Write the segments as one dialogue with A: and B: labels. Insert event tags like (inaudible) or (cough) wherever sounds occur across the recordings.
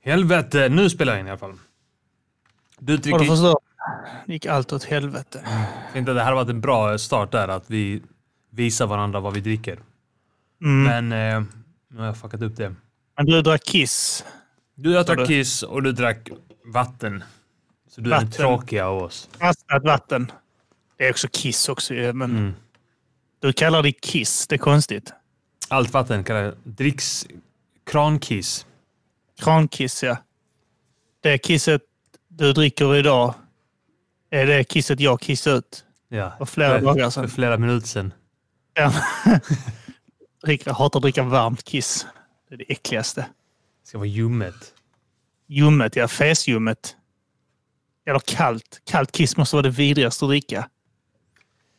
A: Helvete, nu spelar jag in i alla fall. Du
B: Har du
A: trycker...
B: förstört? gick allt åt helvete.
A: Tänkte att det här hade varit en bra start där, att vi visar varandra vad vi dricker.
B: Mm.
A: Men eh, nu har jag fuckat upp det.
B: Men du drack Kiss.
A: Du, jag
B: Vad
A: drack
B: du?
A: kiss och du drack vatten. Så du är
B: Vatten.
A: den tråkiga av oss.
B: Fastnat vatten. Det är också Kiss också ju, men
A: Mm.
B: du kallar det Kiss. Det är konstigt.
A: Allt vatten kallar jag dricks... Krankiss.
B: Krankiss, ja. Det kisset du dricker idag är det kisset jag kissade ut.
A: Ja.
B: Och flera
A: för,
B: dagar
A: för
B: sedan.
A: flera minuter sedan.
B: Ja. (laughs) Dricka- hatar att dricka varmt kiss. Det är det äckligaste.
A: Ska vara ljummet.
B: Ljummet, ja. Fesljummet. Eller kallt. Kallt kiss måste vara det vidrigaste att dricka.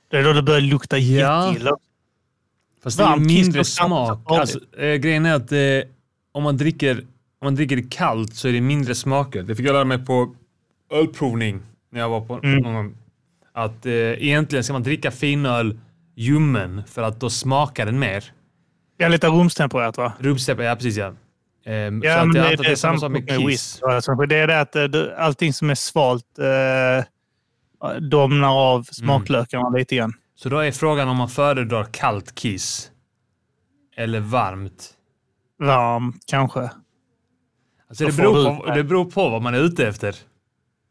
B: Det är då det börjar lukta
A: Ja.
B: jätteilla.
A: Fast det är
B: Varmt kiss
A: mindre
B: och kallt
A: smak.
B: är farligt.
A: Alltså, eh, grejen är att eh, om, man dricker, om man dricker det kallt så är det mindre smaker. Det fick jag lära mig på ölprovning när jag var på
B: Mm.
A: någon gång. Att eh, egentligen ska man dricka finöl ljummen för att då smakar den mer.
B: Ja, lite rumstempererat va?
A: Rumstemper, ja precis ja. Ehm, så
B: Ja,
A: att
B: men
A: jag
B: det,
A: antar att
B: det är samma sak med
A: Kiss.
B: whisky. Alltså, för Det är det att eh, du- allting som är svalt eh, domnar
A: Mm.
B: av smaklökarna lite grann.
A: Så då är frågan om man föredrar kallt kiss eller varmt.
B: Varm, kanske.
A: Alltså
B: Då
A: det
B: får
A: beror,
B: du-
A: på, det beror på vad man är ute efter.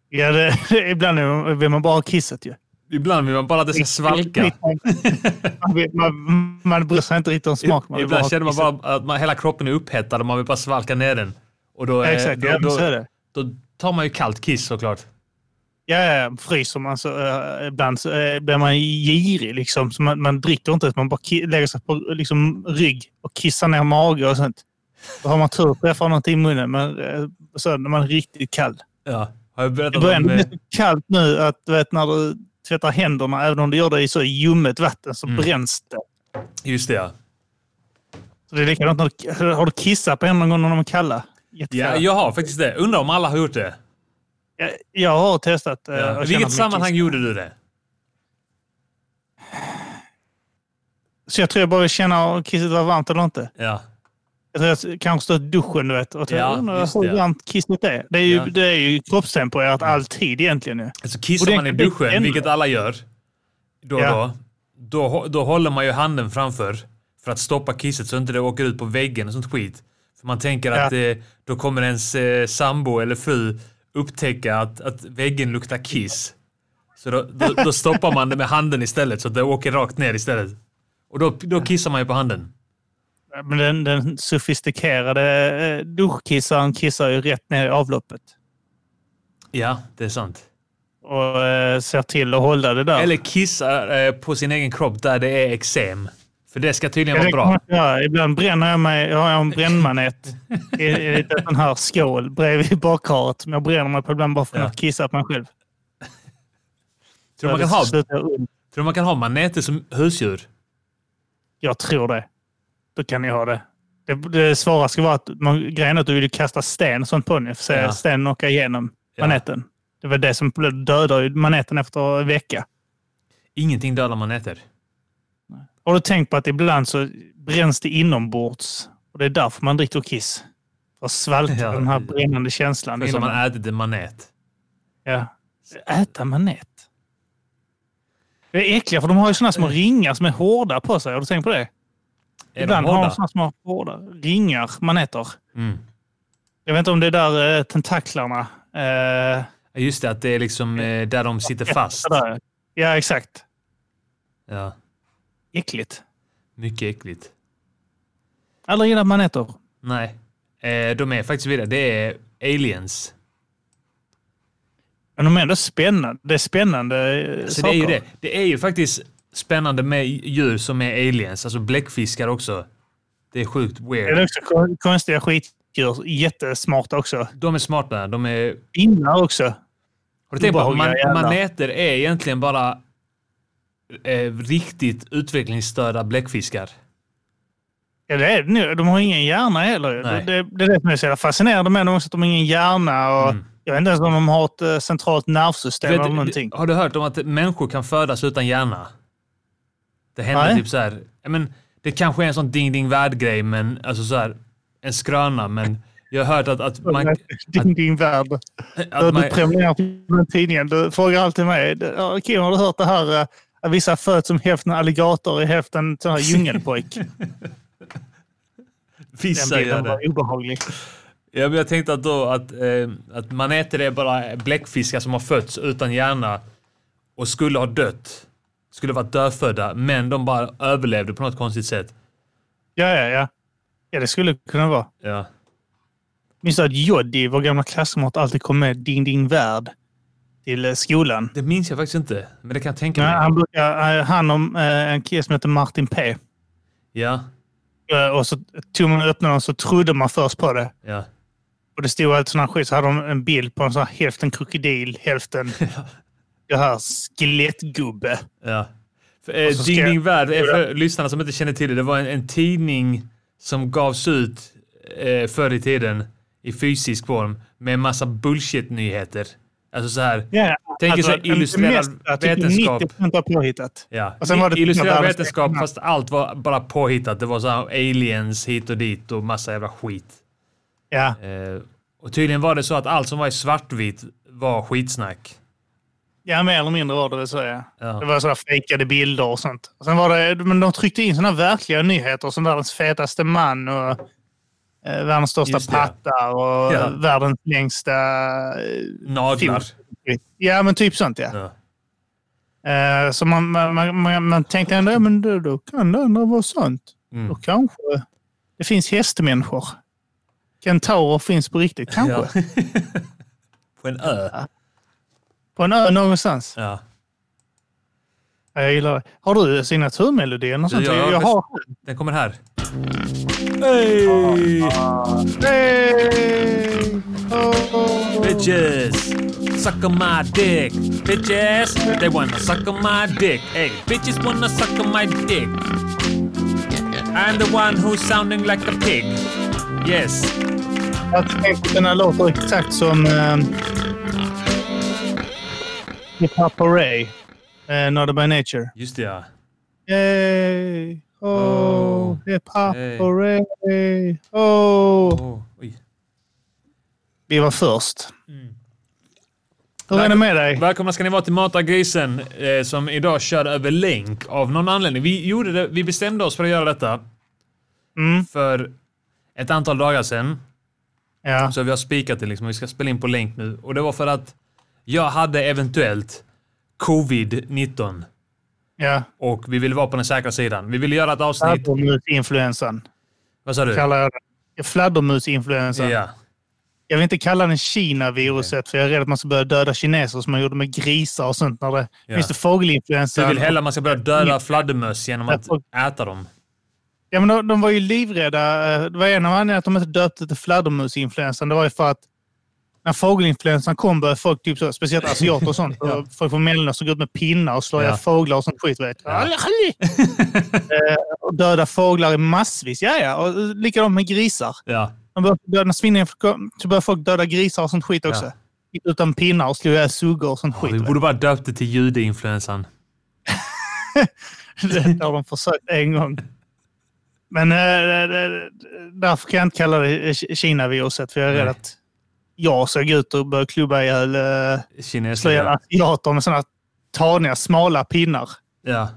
B: Ja, det, (laughs) ibland är- vill man bara ha kisset ju.
A: Ibland vill man bara att det ska svalka.
B: Man, vill- man, man bryr sig inte riktigt om smak. Man vill bara
A: Ibland
B: ha
A: känner man
B: kisset.
A: bara att man, hela kroppen är upphettad och man vill bara svalka ner den. Och då,
B: Ja,
A: är,
B: Exakt,
A: eh, då,
B: ja, men så är
A: då,
B: det.
A: då tar man ju kallt kiss såklart.
B: Ja, ja, ja, fryser man så eh, ibland så, eh, blir man girig. Liksom. Så man, man dricker inte, utan man bara ki- lägger sig på liksom, rygg och kissar ner mage och sånt. Då har man tur träffar någonting i munnen, men eh, sen när man är riktigt kall.
A: Ja. Har jag
B: Det
A: berättat
B: börjar
A: om...
B: bli
A: eh,
B: så kallt nu att du vet, när du tvättar händerna, även om du gör det i så ljummet vatten, så
A: Mm.
B: bränns det.
A: Just det ja.
B: Så det är likadant när du, har du kissat på händerna någon gång när de är kalla.
A: ja.
B: Jättekalla.
A: Jag har faktiskt det. Undrar om alla har gjort det.
B: Jag, jag har testat. eh,
A: Ja.
B: och
A: I
B: känner att
A: vilket
B: min
A: sammanhang
B: kiss-
A: gjorde du det?
B: Så jag tror jag började känna om kisset var varmt eller inte.
A: Ja.
B: Jag tror att Alltså, jag kanske stått i duschen du vet, och
A: Ja,
B: ja,
A: just det,
B: hur
A: ja.
B: varmt kisset är. Det är ju,
A: Ja. Mm.
B: det är ju kroppstempererat alltid egentligen. ju.
A: Alltså
B: Och
A: kissar
B: det
A: man i
B: kan bli
A: duschen,
B: ännu-
A: vilket alla gör då och
B: Ja.
A: då, då, hå- då håller man ju handen framför för att stoppa kisset så inte det åker ut på väggen och sånt skit. För man tänker
B: Ja.
A: att eh, då kommer ens eh, sambo eller fru upptäcka att, att väggen luktar kiss. Så då, då, då stoppar man det med handen istället så att det åker rakt ner istället. Och då, då kissar man ju på handen.
B: Men den, den sofistikerade eh, duschkissaren kissar ju rätt ner i avloppet.
A: Ja, det är sant.
B: Och eh, ser till att hålla det där.
A: Eller kissa eh, på sin egen kropp där det är eksem. För det ska tydligen
B: Ja,
A: vara
B: det kan
A: bra.
B: man göra. Ibland bränner jag mig. Jag har
A: (laughs)
B: en brännmanet i i en liten här skål bredvid badkaret som jag bränner mig på ibland bara för
A: Ja.
B: att kissa på mig själv.
A: Tror man
B: Det
A: kan ha, tror
B: slutar ont.
A: du man kan ha maneter som husdjur?
B: Jag tror det. Då kan ni ha det. Det, det svåra ska vara att man, grejen är att du vill ju kasta sten och sånt på den. ju, För att se
A: Ja.
B: stenen åka igenom
A: Ja.
B: maneten. Det var det som dödar ju maneten efter en vecka.
A: Ingenting dödar man äter.
B: Har du tänkt på att ibland så bränns det inombords? Och det är därför man dricker kiss. För att svalka
A: Ja.
B: den här brännande känslan.
A: Det är som
B: inom-
A: man äter det man äter.
B: Ja. Äta manet. Det är äckliga för de har ju såna små ringar som är hårda på sig. Har du tänkt på det?
A: Eh. Är
B: Ibland
A: de
B: har
A: hårda?
B: de såna små hårda ringar, maneter.
A: Mm.
B: Jag vet inte om det är där eh, tentaklarna... Eh,
A: Ja, Just det, att det är liksom eh, där de sitter fast.
B: där. Ja, exakt.
A: Ja,
B: Äckligt.
A: mycket äckligt.
B: Aldrig gillat maneter.
A: Nej, eh, de är faktiskt vidare. Det är aliens.
B: Men de är ändå spännande. Det är spännande eh,
A: Så Alltså, det
B: saker.
A: är ju det. Det är ju faktiskt spännande med djur som är aliens. Alltså bläckfiskar också. Det är sjukt
B: Det är
A: weird.
B: också kon- konstiga skitdjur. Jättesmarta också.
A: De är smarta. De är...
B: Pinnar också.
A: Har du tänkt på att man,
B: Obehagliga jävlar.
A: maneter är egentligen bara eh, riktigt utvecklingsstörda bläckfiskar?
B: Ja, det är det nu. De har ingen hjärna heller. Det,
A: Nej.
B: det, det är det som är så jävla fascinerande med dem också. Att de har ingen hjärna. Och
A: Mm.
B: Jag vet inte ens om de har ett eh, centralt nervsystem
A: Vet-
B: eller någonting.
A: Har du hört om att människor kan födas utan hjärna? Det händer
B: Nej.
A: typ så här. ja, Men, det kanske är en sån ding ding värld grej, men alltså så här. En skröna, men Jag har hört att, att man... Att,
B: (laughs) din, din värld.
A: att
B: du
A: man
B: prenumererar på den tidningen. Du frågar alltid mig. Du, ja, Kim, har du hört det här? eh, Att vissa föds som hälften alligator och hälften sån
A: (laughs)
B: här djungelpojk.
A: vissa
B: Den
A: gör
B: bilden
A: det.
B: var obehaglig.
A: Ja, men jag tänkte att då att, eh, att maneter är bara bläckfiskar som har fötts utan hjärna och skulle ha dött. Skulle varit dödfödda, men de bara överlevde på något konstigt sätt.
B: Ja, ja, ja. Ja, det skulle kunna vara.
A: Ja.
B: Minns du att Joddi, vår gamla klasskamrat, alltid kom med Ding Ding Värld till eh, skolan?
A: Det minns jag faktiskt inte, men det kan jag tänka
B: Ja,
A: mig.
B: han brukar eh, hand om eh, en kille som heter Martin P.
A: Ja,
B: Eh, Och så tog man öppnade den så trodde man först på det.
A: ja.
B: Och det stod allt sån här skit. Så hade de en bild på en sån här hälften krokodil,
A: (laughs)
B: hälften det här skelettgubbe.
A: Ja. För, eh,
B: så ska
A: Ding
B: jag-
A: Ding Värld, eh, för lyssnarna som inte känner till det, det var en, en tidning som gavs ut eh, förr i tiden i fysisk form med en massa bullshit-nyheter. Alltså så här,
B: Yeah.
A: Tänk er så illustrerad vetenskap.
B: 90 har påhittat.
A: ja.
B: alltså, Och sen var det typ
A: Illustrerad
B: världens-
A: vetenskap, fast allt var bara påhittat. Det var så här aliens hit och dit och massa jävla skit.
B: Ja.
A: Eh, och tydligen var det så att allt som var i svartvitt var skitsnack.
B: ja, mer eller mindre var det det så. Ja.
A: Ja.
B: Det var sådana fejkade bilder och sånt. Och sen var det, men de tryckte in sådana verkliga nyheter som världens fetaste man och eh, världens största
A: Just det.
B: patta och
A: Ja.
B: världens längsta... eh,
A: Naglar.
B: Fint. Ja, men typ sånt ja.
A: Ja.
B: Eh, så man, man, man, man, man tänkte ändå, ja, men då, då kan det ändå vara sant.
A: Mm.
B: Då kanske det finns hästmänniskor. Kentaurer finns på riktigt, kanske.
A: Ja. (laughs) På en ö.
B: På en ö någonstans.
A: Ja.
B: Ja, jag gillar det. Har du signaturmelodier? Något
A: Du,
B: sånt?
A: jag har
B: Jag, jag har.
A: Den kommer här. Hey!
B: Hey! Oh.
A: Bitches! Suck on my dick! Bitches! They wanna suck on my dick! Hey, bitches wanna suck on my dick! I'm the one who's sounding like a pig! Yes!
B: Jag tänkte att den här låter exakt som... Eh, Hip Hop Array. Eh, Not by Nature.
A: Just det ja.
B: Yay! Oh,
A: Oh,
B: hip hop
A: hey.
B: hooray! Oh!
A: Åh, oj.
B: Vi var först.
A: Mm.
B: Hur är det med dig?
A: Välkomna ska ni vara till Mata grisen eh, som idag kör över länk av någon anledning. Vi, gjorde det, vi bestämde oss för att göra detta
B: Mm,
A: för ett antal dagar sedan.
B: ja.
A: Så vi har spikat det liksom. Vi ska spela in på länk nu. Och det var för att jag hade eventuellt covid-19
B: ja.
A: och vi ville vara på den säkra sidan. Vi ville göra ett avsnitt.
B: Fladdermusinfluensan
A: Vad sa du?
B: kallar jag den. Fladdermusinfluensan.
A: Ja.
B: Jag vill inte kalla den Kina-viruset för jag är rädd att man ska börja döda kineser som man gjorde med grisar och sånt. När det,
A: Ja.
B: Finns det
A: Du
B: fågelinfluensan?
A: vill hellre att man ska börja döda fladdermöss genom att
B: Jag
A: äta dem.
B: Ja, men de, de var ju livrädda. Eh, Det var en av anledningarna att de inte döpte till fladdermusinfluensan. Det var ju för att när fågelinfluensan kom började folk, typ så, speciellt asiater
A: (laughs)
B: och sånt, och folk från Mellanöstern gå ut med pinnar och slå
A: Ja.
B: ihjäl fåglar och sånt skit. Vet.
A: Ja. (laughs)
B: Eh, och döda fåglar i massvis. Ja, ja. Och eh, likadant med grisar.
A: Ja.
B: De började döda, när svininfluensan kom så började folk döda grisar och sånt skit också.
A: Ja.
B: Gick Utan pinnar och slog ihjäl suggor och sånt skit.
A: Vi
B: vet.
A: borde bara döpt det till judeinfluensan.
B: Det
A: (laughs)
B: har de försökt en gång. Men eh, det- det- därför kan jag inte kalla det eh, Ki- Kina-viruset. För jag är
A: Nej.
B: rädd att jag såg ut och började klubba ihjäl eh, slå ihjäl
A: Kineserna.
B: asiater med sådana taniga, smala pinnar.
A: Ja.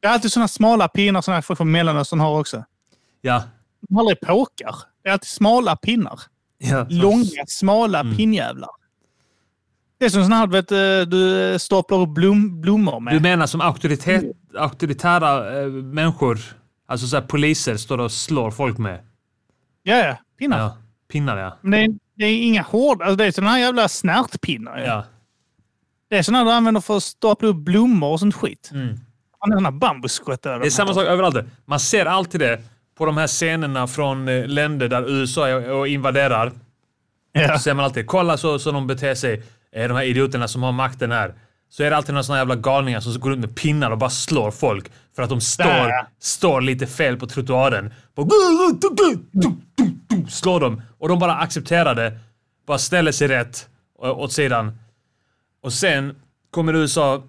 B: Det är alltid sådana smala pinnar som folk från Mellanöstern har också.
A: Ja.
B: De har aldrig påkar. Det är alltid smala pinnar.
A: ja.
B: Långa, smala
A: Mm.
B: pinnjävlar. Det är som sådana här du vet, eh, du staplar upp blom, blommor med.
A: Du menar som auktoritet, auktoritära eh, människor, alltså så här poliser, står och slår folk med?
B: Ja, ja. Pinnar.
A: Ja. Pinnar ja.
B: Men det är, det är inga hårda. Alltså det är sådana här jävla snärtpinnar. ju.
A: Ja.
B: Det är sådana här du använder för att stapla upp blommor och sånt skit.
A: Mm.
B: Man har sådana här bambuskott där.
A: Det är samma sak överallt. där. Man ser alltid det på de här scenerna från eh, länder där USA är och invaderar.
B: Ja.
A: Så ser man alltid, kolla så, så de beter sig, eh, de här idioterna som har makten här. Så är det alltid några såna jävla galningar som går runt med pinnar och bara slår folk för att de står,
B: Där.
A: står lite fel på trottoaren. Bara, "Gu, gu, du, gu, du, du, du", slår dem och de bara accepterar det. Bara ställer sig rätt eh, åt sidan. Och sen kommer USA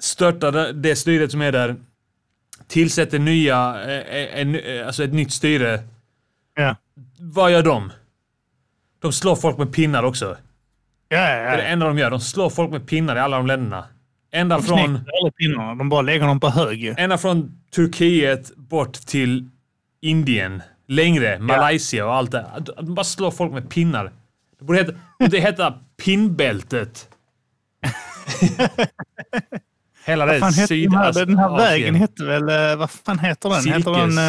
A: störta det- det styret som är där. Tillsätter nya, eh, eh, en, eh, alltså ett nytt styre.
B: Ja.
A: Vad gör de? De slår folk med pinnar också.
B: Ja,
A: Det
B: ja,
A: är
B: ja.
A: det ända de gör. De slår folk med pinnar i alla de länderna. Ända
B: De knäcker
A: från...
B: alla pinnarna. De bara lägger dem på hög. ju.
A: ända från Turkiet bort till Indien. Längre, Malaysia och allt det. De bara slår folk med pinnar. Det borde heta, det heta pinnbältet. (laughs) Hela det
B: Fan, heter den, här,
A: sydast-
B: den här
A: Asien.
B: vägen hette väl... eh, Vad fan heter den? Heter den
A: Silkes.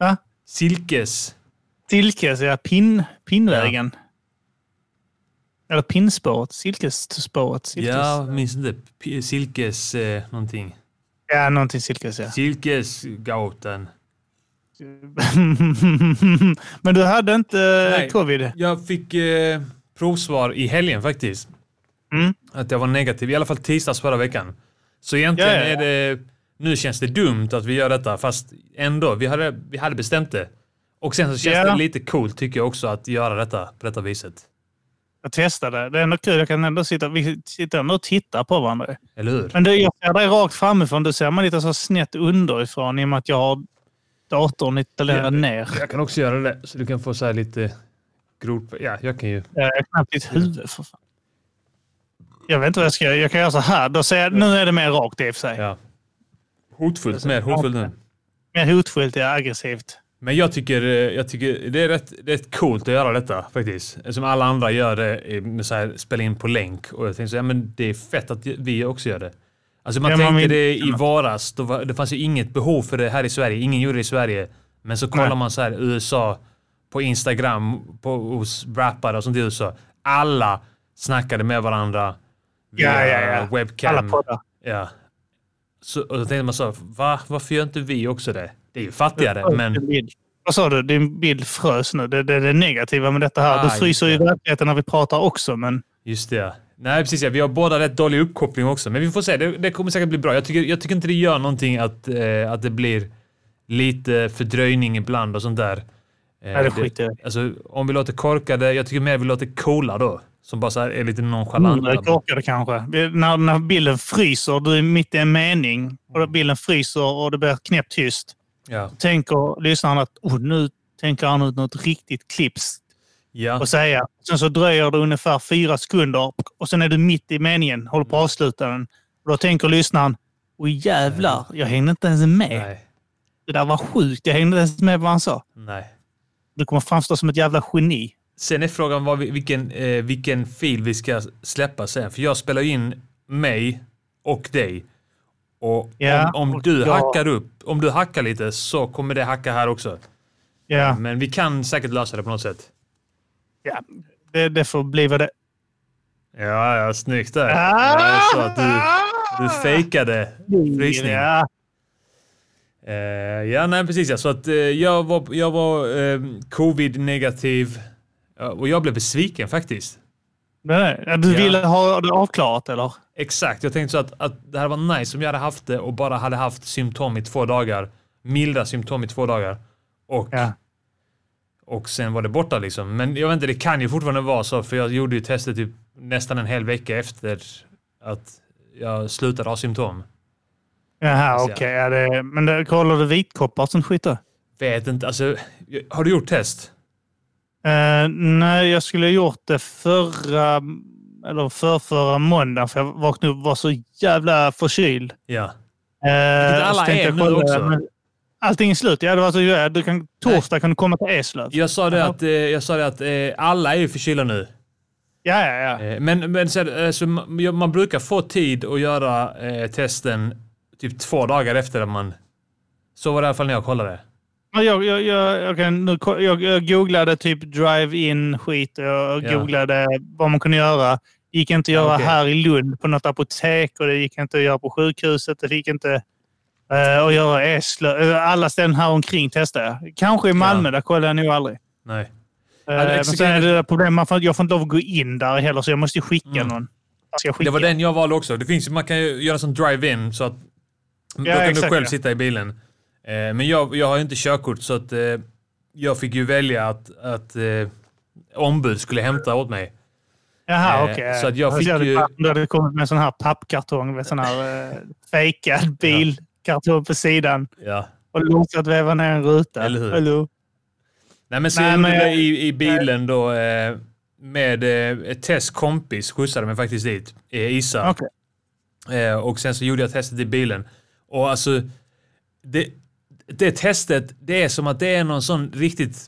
B: eh, va?
A: Silkes.
B: Silkes, ja. Pin, pinnvägen. Eller pinnspåret. Silkesspåret. Silkes.
A: Ja, minns inte. P- Silkes eh, någonting.
B: ja, någonting silkes, ja. (laughs)
A: Silkesgatan.
B: Men du hade inte eh,
A: Nej.
B: covid?
A: Jag fick eh, provsvar i helgen faktiskt.
B: Mm.
A: Att jag var negativ, i alla fall tisdags förra veckan. Så egentligen
B: Ja, ja, ja.
A: är det... Nu känns det dumt att vi gör detta, fast ändå. Vi hade, vi hade bestämt det. Och sen så känns
B: Ja.
A: det lite coolt tycker jag också att göra detta på detta viset.
B: Jag testade. Det är ändå kul. Jag kan ändå sitta, vi sitter ändå och tittar på varandra.
A: Eller hur?
B: Men du, jag ser dig rakt framifrån. Du ser mig lite så snett underifrån i och med att jag har datorn lite längre
A: Ja.
B: ner.
A: Jag kan också göra det, så du kan få så här lite grop... Ja, jag kan ju...
B: Jag har knappt ditt huvud för fan. Jag vet inte vad jag ska göra. Jag kan göra så här. Då ser jag, nu är det mer rakt i och för sig.
A: Ja. Hotfullt, mer hotfullt nu.
B: Mer hotfullt, ja, aggressivt.
A: Men jag tycker, eh, jag tycker det är rätt, rätt coolt att göra detta faktiskt. Som alla andra gör det, eh, med så här, spela in på länk. Och jag tänkte så, ja, men det är fett att vi också gör det. Alltså man
B: Ja, man
A: tänkte
B: vill-
A: det i varas, då var, det fanns ju inget behov för det här i Sverige. Ingen gjorde det i Sverige. Men så kollar
B: Nej.
A: man så här USA, på Instagram, på, hos rappare och sånt i USA. Alla snackade med varandra
B: Ja, ja, ja.
A: webcam.
B: Alla poddar.
A: ja. så, och då tänkte man så här, va? Varför gör inte vi också det? Det är ju fattigare,
B: Frös
A: men...
B: din bild. Vad sa du? Din bild frös nu. Det är det, är det negativa med detta här.
A: Ah,
B: du fryser ju i
A: just
B: verkligheten när vi pratar också, men...
A: Just det. ja. Nej, precis. Ja. Vi har båda rätt dålig uppkoppling också, men vi får se. Det, det kommer säkert bli bra. Jag tycker, jag tycker inte det gör någonting att, eh, att det blir lite fördröjning ibland och sånt där. Eh,
B: Nej, det skiter jag i.
A: Alltså, om vi låter korkade. Jag tycker mer vi låter coola då, som bara så här är lite nonchalanta.
B: Mindre korkade Mm, kanske. Vi- När, när bilden fryser, du är mitt i en mening, och
A: Mm.
B: då bilden fryser och det blir knäpptyst.
A: ja.
B: Tänker lyssnaren att oh, nu tänker han ut något riktigt klipps
A: ja.
B: och säga. Sen så dröjer det ungefär fyra sekunder och sen är du mitt i meningen, håller på att avsluta den. Och då tänker lyssnaren, åh jävlar, jag hängde inte ens med.
A: Mm. Nej.
B: Det där var sjukt, jag hängde inte ens med vad han sa.
A: Nej.
B: Du kommer framstå som ett jävla geni.
A: Sen är frågan vad vi, vilken, eh, vilken fil vi ska släppa sen. För jag spelar ju in mig och dig. Och
B: Ja,
A: om, om
B: och
A: du
B: jag-
A: hackar upp, om du hackar lite så kommer det hacka här också.
B: Ja,
A: Men vi kan säkert lösa det på något sätt.
B: ja. Det, det får bli vad det
A: Ja, ja, snyggt där.
B: Ah!
A: Jag sa att du, du fejkade frysning.
B: Ja,
A: Eh, ja, nej precis ja. Så att eh, jag var, jag var eh, covid-negativ. Ja, Och jag blev besviken faktiskt.
B: Nej, eh, ja, Du
A: Ja.
B: ville ha det avklarat eller?
A: Exakt, jag tänkte så att, att det här var nice om jag hade haft det och bara hade haft symptom i två dagar. Milda symptom i två dagar. Och,
B: Ja.
A: och sen var det borta liksom. Men jag vet inte, det kan ju fortfarande vara så för jag gjorde ju testet typ nästan en hel vecka efter att jag slutade ha symptom.
B: Jaha,
A: Alltså,
B: okej. ja, det- men det, kollar du vitkoppar och sånt skit då?
A: Vet inte, alltså. Har du gjort test?
B: Eh, nej, jag skulle ha gjort det förra eller förra, förra måndagen för jag vaknade upp och var så jävla förkyld.
A: Ja.
B: Eh,
A: Vilket alla
B: och så tänkte
A: är
B: jag
A: nu
B: kolla,
A: också.
B: men Allting är slut. Ja, det var så, ja, du kan, torsdag kan du komma till Eslöv. Ja,
A: Jag sa det att, eh, jag sa det att eh, alla är ju förkylda nu.
B: ja, ja.
A: Eh, Men, men så, eh, så man, ja, man brukar få tid att göra eh, testen typ två dagar efter att man... Så var det i alla fall när jag kollade.
B: Men Jag, jag, jag, jag, kan, nu, ko- jag, jag googlade typ drive-in skit. och Jag
A: Ja.
B: googlade vad man kunde göra. gick inte att göra
A: okej.
B: här i Lund på något apotek och det gick inte att göra på sjukhuset. Det gick inte eh, att göra i Eslöv. Eh, Alla ställen här omkring testade jag. Kanske i Malmö, där kollade jag nog aldrig.
A: Nej.
B: Eh,
A: det
B: men sen är det där problemet, man får, jag får inte lov att gå in där heller så jag måste ju skicka
A: Mm.
B: någon. Jag ska skicka.
A: Det var den jag valde också. Det finns, ju- man kan ju göra som drive-in så att då kan
B: exakt,
A: du själv
B: ja.
A: sitta i bilen. Eh, men jag, jag har ju inte körkort så att eh, jag fick ju välja att, att eh, ombud skulle hämta åt mig.
B: Jaha,
A: Eh,
B: okej.
A: så att jag fick
B: hade
A: ju-
B: Du hade kommit med en sån här pappkartong med sån här eh, fejkad bilkartong på sidan.
A: Ja.
B: och låtsas väva ner en ruta.
A: Eller hur?
B: Hallå?
A: Nej, men så
B: Nej,
A: jag gjorde
B: men
A: det
B: jag-
A: i, i bilen då eh, med eh, Tess kompis skjutsade mig faktiskt dit, eh, Isa.
B: Okej.
A: Eh, och sen så gjorde jag testet i bilen. Och alltså, det, det testet, det är som att det är någon sån riktigt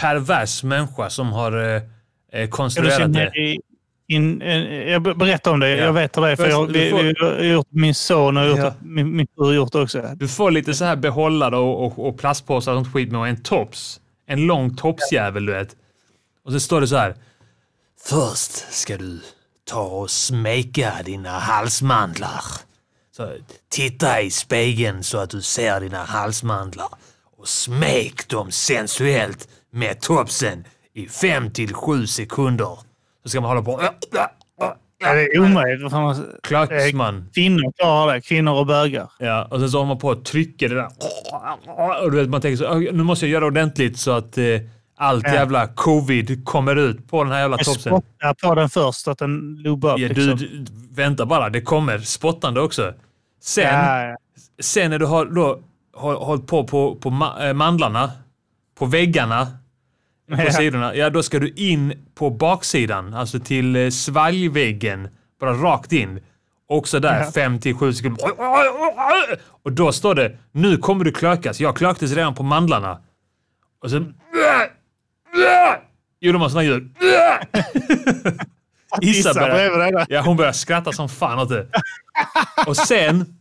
A: pervers människa som har eh, eh,
B: Ska du se
A: konstruerat det.
B: ner i- in, eh, jag ber- berättar om det.
A: Ja.
B: Jag vet vad det är. För
A: Först, du
B: jag, vi,
A: får-
B: vi har gjort min son och gjort,
A: Ja.
B: min, min fru har gjort det också.
A: Du får lite så här behållare och, och, och plastpåsar och sånt skit med och en tops. En lång topsjävel, du vet. Och så står det så här. Först ska du ta och smeka dina halsmandlar. Så, titta i spegeln så att du ser dina halsmandlar. Och smek dem sensuellt med topsen i 5 till 7 sekunder. Så ska man hålla på.
B: Ja, det är omöjligt. Vad fan, man-
A: Klacks man.
B: Kvinnor klarar det. Kvinnor och bögar.
A: Ja, och sen så har man på att trycka det där. Och du vet, man tänker så "Åh, nu måste jag göra ordentligt så att eh, allt
B: Ja.
A: jävla covid kommer ut på den här jävla
B: Jag
A: topsen.
B: spottar på den först så att den lubbar upp.
A: Ja, du,
B: liksom.
A: du, vänta bara, det kommer spottande också. Sen,
B: ja, ja.
A: sen när du har då, har, hållit på på, på ma- eh, mandlarna, på väggarna, på
B: Ja.
A: sidorna, ja då ska du in på baksidan, alltså till eh, svalgväggen, bara rakt in. Också där,
B: Ja.
A: fem till sju sekunder. Och då står det, nu kommer du klökas. Jag klöktes redan på mandlarna. Och
B: (laughs)
A: sen... Gjorde man sådana ljud. Issa började,
B: bredvid dig där.
A: ja, hon började skratta som fan åt det. Och sen...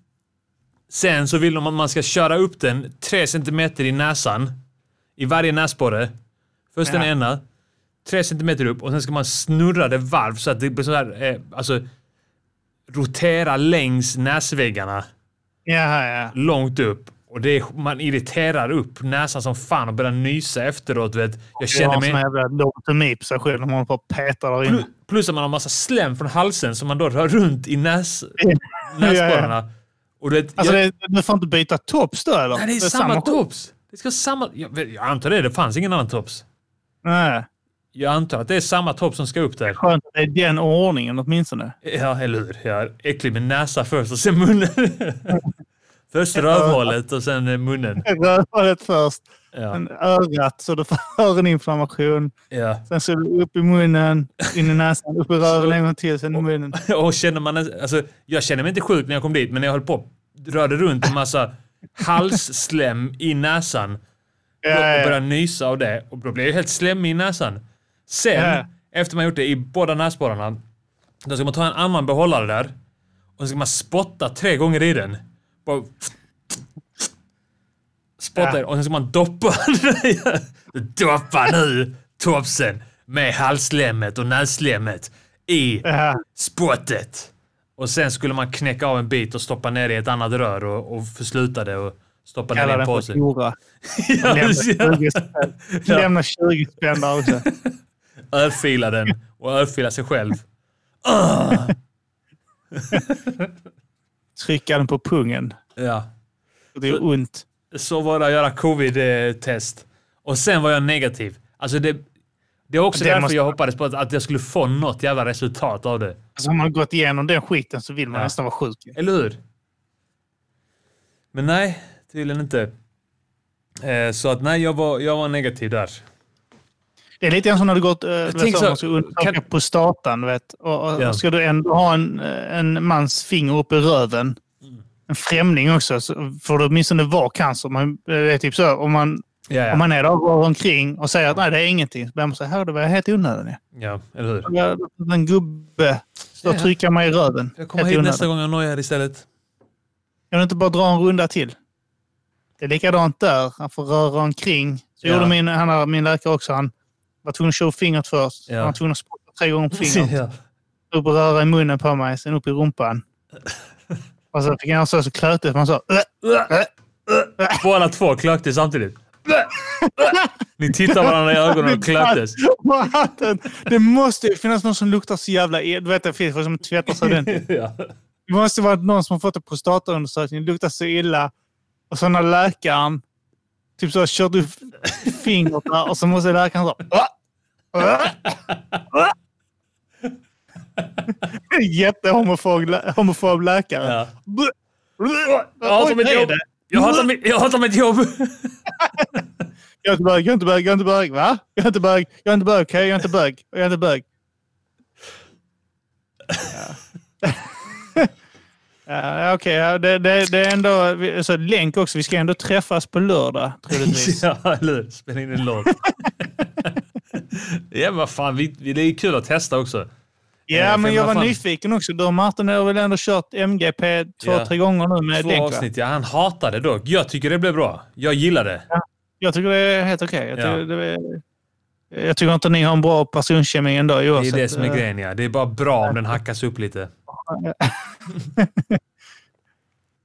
A: Sen så vill de att man ska köra upp den tre centimeter i näsan. I varje näsborre. Först den
B: Ja.
A: ena. Tre centimeter upp och sen ska man snurra det varv så att det blir så här... Eh, alltså... Rotera längs näsväggarna
B: Ja, ja.
A: långt upp. Och det är, man irriterar upp näsan som fan och börjar nysa efteråt. Vet. Jag
B: Känner
A: känner
B: mig...
A: mig...
B: jävla lobotomi på sig själv när man håller på och petar där inne.
A: Plus att man har massa slem från halsen som man då rör runt i näs,
B: (laughs) ja.
A: näsborrarna. Och du vet,
B: Alltså,
A: jag,
B: det, du får inte byta tops då eller?
A: nej, det är samma tops. Det ska samma... Jag, jag antar det. Det fanns ingen annan tops.
B: Nej,
A: Jag antar att det är samma tops som ska upp där.
B: skönt att det är den ordningen åtminstone.
A: Ja, eller hur? Jag är äcklig med näsa först och sen munnen. (laughs) först rövhålet och sen eh, munnen.
B: Rövhålet först,
A: Ja,
B: sen örat så du får (laughs) öroninflammation.
A: ja. (laughs)
B: Sen så upp i munnen, in i näsan, upp i röven en gång till, sen i munnen.
A: Och känner man, alltså, jag känner mig inte sjuk när jag kom dit, men när jag höll på rörde runt en massa halsslem i näsan och
B: Ja, ja.
A: började nysa av det. Och då blev jag helt slemmig i näsan. Sen,
B: Ja.
A: efter man gjort det i båda näsborrarna, då ska man ta en annan behållare där och så ska man spotta tre gånger i den. Bara spotta
B: Ja.
A: och sen ska man doppa (laughs) den. Doppa nu topsen med halsslemmet och nässlemmet i
B: Ja.
A: spottet. Och sen skulle man knäcka av en bit och stoppa ner i ett annat rör och, och försluta det och stoppa ner i
B: Kalla
A: en
B: den för
A: påse. (laughs)
B: Tora.
A: Ja,
B: Lämna
A: ja.
B: 20 spänn. Lämna 20 spänn där också.
A: Örfila den och örfila sig själv.
B: Trycka den på pungen.
A: Ja.
B: Det är ont.
A: Så var det att göra covid-test. Och sen var jag negativ. Alltså det, det är också
B: Det
A: därför
B: måste-
A: jag hoppades på att, att jag skulle få något jävla resultat av det.
B: Alltså, har man gått igenom den skiten så vill man
A: Ja.
B: nästan vara sjuk.
A: Eller hur? Men nej, tydligen inte. Eh, så att nej, jag var, jag var negativ där.
B: Det är lite grann som när du gått... Jag
A: tänker
B: vet, så,
A: så-
B: man ska undersöka
A: kan-
B: prostatan. du Vet, och, och,
A: Ja.
B: Ska du ändå ha en, eh, en mans finger upp i röven, en främling också, så får du åtminstone vara cancer. Man, det är typ så, om man,
A: Ja, ja.
B: om man är där och går omkring och säger att nej, det är ingenting, så börjar man säga här det var helt onödan. ja."
A: ja eller hur?
B: Jag- En gubbe står och
A: Ja.
B: trycker mig i röven.
A: Jag kommer
B: Helt
A: hit
B: onödan.
A: nästa gång jag nojar istället.
B: Kan du inte bara dra en runda till? Det är likadant där. Han får röra omkring. Så
A: Ja.
B: gjorde min, han, här, min läkare också. Han var tvungen att köra upp fingret först.
A: Ja.
B: Han var tvungen att spotta tre gånger på fingret.
A: Ja.
B: Upp och röra i munnen på mig, sen upp i
A: (laughs)
B: rumpan. Och så fick han så, så klötigt. Man sa... "Äh,
A: Båda två klöktes (laughs) samtidigt. Ni tittar varandra i ögonen och klöktes.
B: Och hatten. Det måste ju finnas någon som luktar så jävla... el- Du vet, det finns folk som tvättar sig
A: (laughs)
B: ordentligt.
A: Ja.
B: Det måste vara någon som har fått en prostataundersökning, luktar så illa. Och så när läkaren typ så har kört upp fingret där och så måste läkaren så... "Åh! Åh! Åh!" Jättehomofob lä- homofob läkare.
A: Ja.
B: Bluh! Bluh!
A: Jag hatar
B: Oj,
A: mitt
B: vad är
A: jobb.
B: det?
A: Jag hatar mitt, jag hatar mitt jobb.
B: Jag är inte bög, jag är inte bög, jag är inte bög. Va? Jag är inte bög, jag är inte bög, okej? Jag är inte bög, jag är inte bög. Ja. ja, Okej, ja, det, det, det är ändå... vi- Alltså, länk också. Vi ska ändå träffas på lördag,
A: (laughs)
B: troligtvis.
A: ja, eller hur? Spela in en låt. (laughs) ja, men vad fan. Vi, vi, det är kul att testa också.
B: Ja, men jag
A: vad
B: var
A: fan.
B: nyfiken också. Du och Martin har väl ändå kört MGP två,
A: Ja.
B: tre gånger nu med
A: Två
B: länk, va?
A: avsnitt. Ja, han hatade det dock. Jag tycker det blev bra. Jag gillar det.
B: Jag tycker det är helt okej. Jag,
A: Ja.
B: tycker det är- jag tycker inte ni har en bra personkemi ändå.
A: Det är det som är
B: eh,
A: grejen, ja. Det är bara bra om den hackas upp lite.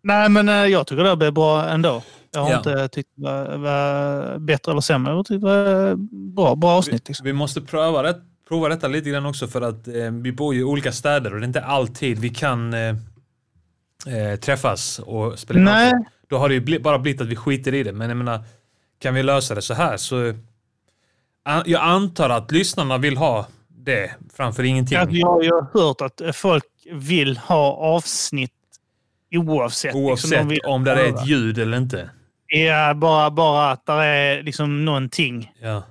B: Nej, men eh, jag tycker det här blev bra ändå. Jag har
A: Ja.
B: inte tyckt det var, var bättre eller sämre. Jag tyckte det var bra, bra avsnitt. Liksom.
A: Vi måste pröva, det, prova detta lite grann också för att eh, vi bor ju i olika städer och det är inte alltid vi kan eh, eh, träffas och spela in
B: Nej.
A: avsnitt. Då har det ju bli, bara blivit att vi skiter i det. Men jag menar, kan vi lösa det så här så... An, jag antar att lyssnarna vill ha det framför ingenting.
B: Att Alltså, Jag har ju hört att eh, folk vill ha avsnitt oavsett. liksom. De
A: Oavsett
B: vill
A: om det är
B: höra.
A: ett ljud eller inte.
B: Ja, bara, bara att det är liksom någonting.
A: Ja.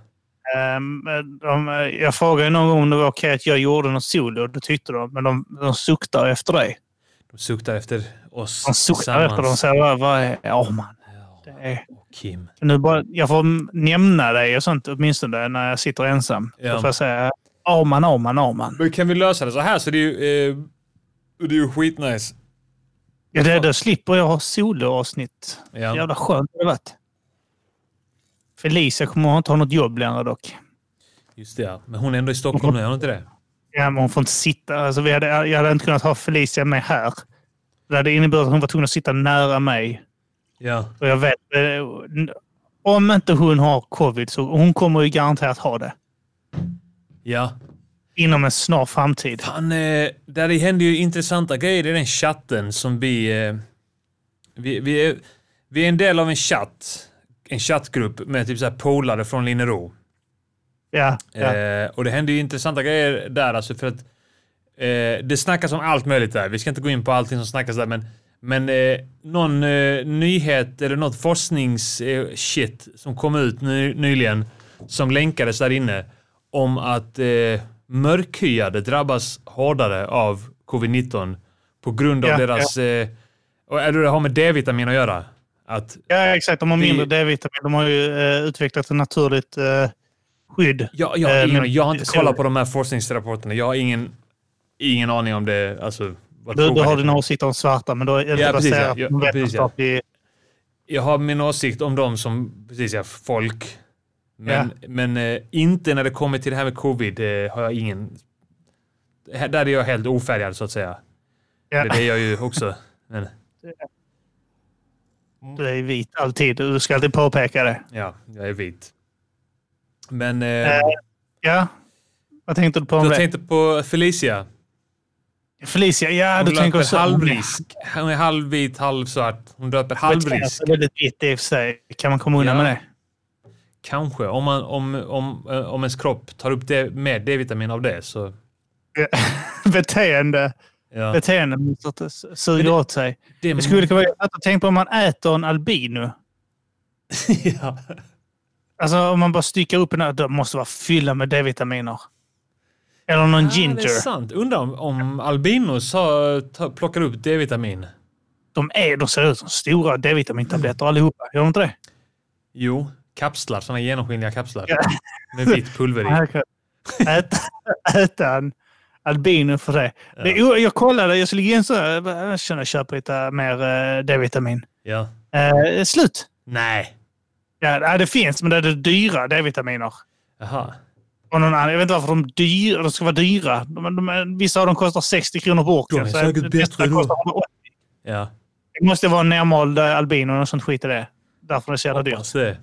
B: Ehm, de, jag frågade någon gång om det var okej att jag gjorde något solo. Det tyckte de, men de, de suktar efter dig.
A: De suktar efter oss
B: De suktar efter dem och
A: tillsammans.
B: säger "Vad- vad är... Ja, man. Det
A: Ja,
B: är,
A: och Kim.
B: nu bara, jag får nämna dig och sånt åtminstone när jag sitter ensam.
A: Ja.
B: Då får jag säga Arman, Arman, Arman.
A: Men kan vi lösa det så här så det är ju, eh, det är ju skitnice.
B: Ja, det, då slipper jag ha soloavsnitt.
A: Ja.
B: Jävla skönt det hade varit. Felicia kommer inte ha något jobb längre dock.
A: Just det, ja. Men hon är ändå i Stockholm nu, är hon inte det?
B: Ja, men hon får inte sitta. Alltså, vi hade, jag hade inte kunnat ha Felicia med här. Det hade inneburit att hon var tvungen att sitta nära mig.
A: Ja.
B: Och jag vet, eh, n- om inte hon har covid så hon kommer ju garanterat ha det.
A: Ja.
B: Inom en snar framtid.
A: Fan, eh, där det händer ju intressanta grejer i den chatten som vi... Eh, vi, vi, är, vi är en del av en chatt. En chattgrupp med typ så här polare från Linnero.
B: Ja, ja.
A: Eh, och det händer ju intressanta grejer där alltså för att eh, det snackas om allt möjligt där. Vi ska inte gå in på allting som snackas där men, men eh, någon eh, nyhet eller något forskningsshit eh, shit som kom ut ny, nyligen som länkades där inne om att eh, mörkhyade drabbas hårdare av covid-19 på grund av
B: Ja,
A: deras... Eh, och, eller det har med D-vitamin att göra. Att
B: ja, exakt. De har
A: Vi-
B: mindre D-vitamin. De har ju eh, utvecklat ett naturligt eh, skydd.
A: Jag, jag, har
B: Eh,
A: ingen,
B: men-
A: jag har inte
B: så-
A: kollat på de här forskningsrapporterna. Jag har ingen, ingen aning om det. Alltså, vad
B: Du, du har
A: trovärdigt-
B: dina åsikter om svarta, men då är det
A: Ja,
B: inte
A: precis,
B: baserat
A: ja.
B: på
A: Ja, precis, ja.
B: vetenskaplig...
A: jag har min åsikt om dem som precis, ja, folk. Men, men eh, inte när det kommer till det här med covid eh, har jag ingen... här- Där är jag helt ofärgad så att säga.
B: Ja.
A: Det, det är jag ju också. Men,
B: Du är vit alltid. Du ska alltid påpeka det.
A: ja, jag är vit. Men eh,
B: Eh, ja. Vad tänkte du på om
A: jag
B: det?
A: tänkte på Felicia.
B: Felicia, ja
A: Hon
B: du tänker
A: löper
B: så.
A: halvrisk. Hon är halvvit, halvsvart. Hon löper halvrisk.
B: Det är väldigt vitt i och för sig. Kan man komma undan
A: Ja.
B: med det?
A: Kanske. Om, man, om, om, eh, om ens kropp tar upp det med D-vitamin av det så...
B: (laughs) Beteende.
A: Ja.
B: Beteendemönstret s-
A: Men
B: suger
A: det- Mm.
B: åt sig.
A: Det
B: Det skulle kunna vara att tänka på om man äter en albino.
A: (laughs) ja.
B: Alltså om man bara styckar upp en ö- då måste det vara fylla med D-vitaminer. Eller någon
A: Ah, det är
B: ginger.
A: sant. Undrar om, om albinos har, ta, plockar upp D-vitamin?
B: De, är, de ser ut som stora
A: Mm.
B: D-vitamintabletter allihopa. Gör de inte det?
A: Jo, kapslar. Såna genomskinliga kapslar.
B: Ja.
A: Med vitt pulver
B: (laughs)
A: i.
B: Här kan- Äta, äta en albino för det. det är o- jag kollade, jag skulle ge en sån här, jag känner jag köper lite mer eh, D-vitamin.
A: Ja.
B: Eh, slut!
A: Nej.
B: Ja, nej, det finns, men det är det dyra D-vitaminer.
A: Jaha.
B: Och någon annan, jag vet inte varför de, dyr, de ska vara dyra. De, de, vissa av dem kostar 60 kronor burken.
A: De är
B: så
A: säkert
B: nästa
A: bättre då.
B: kostar 180.
A: Ja.
B: Det måste vara en nermald eh, albino och något sånt skit i det. Därför det är så jävla dyrt.
A: Hoppas det.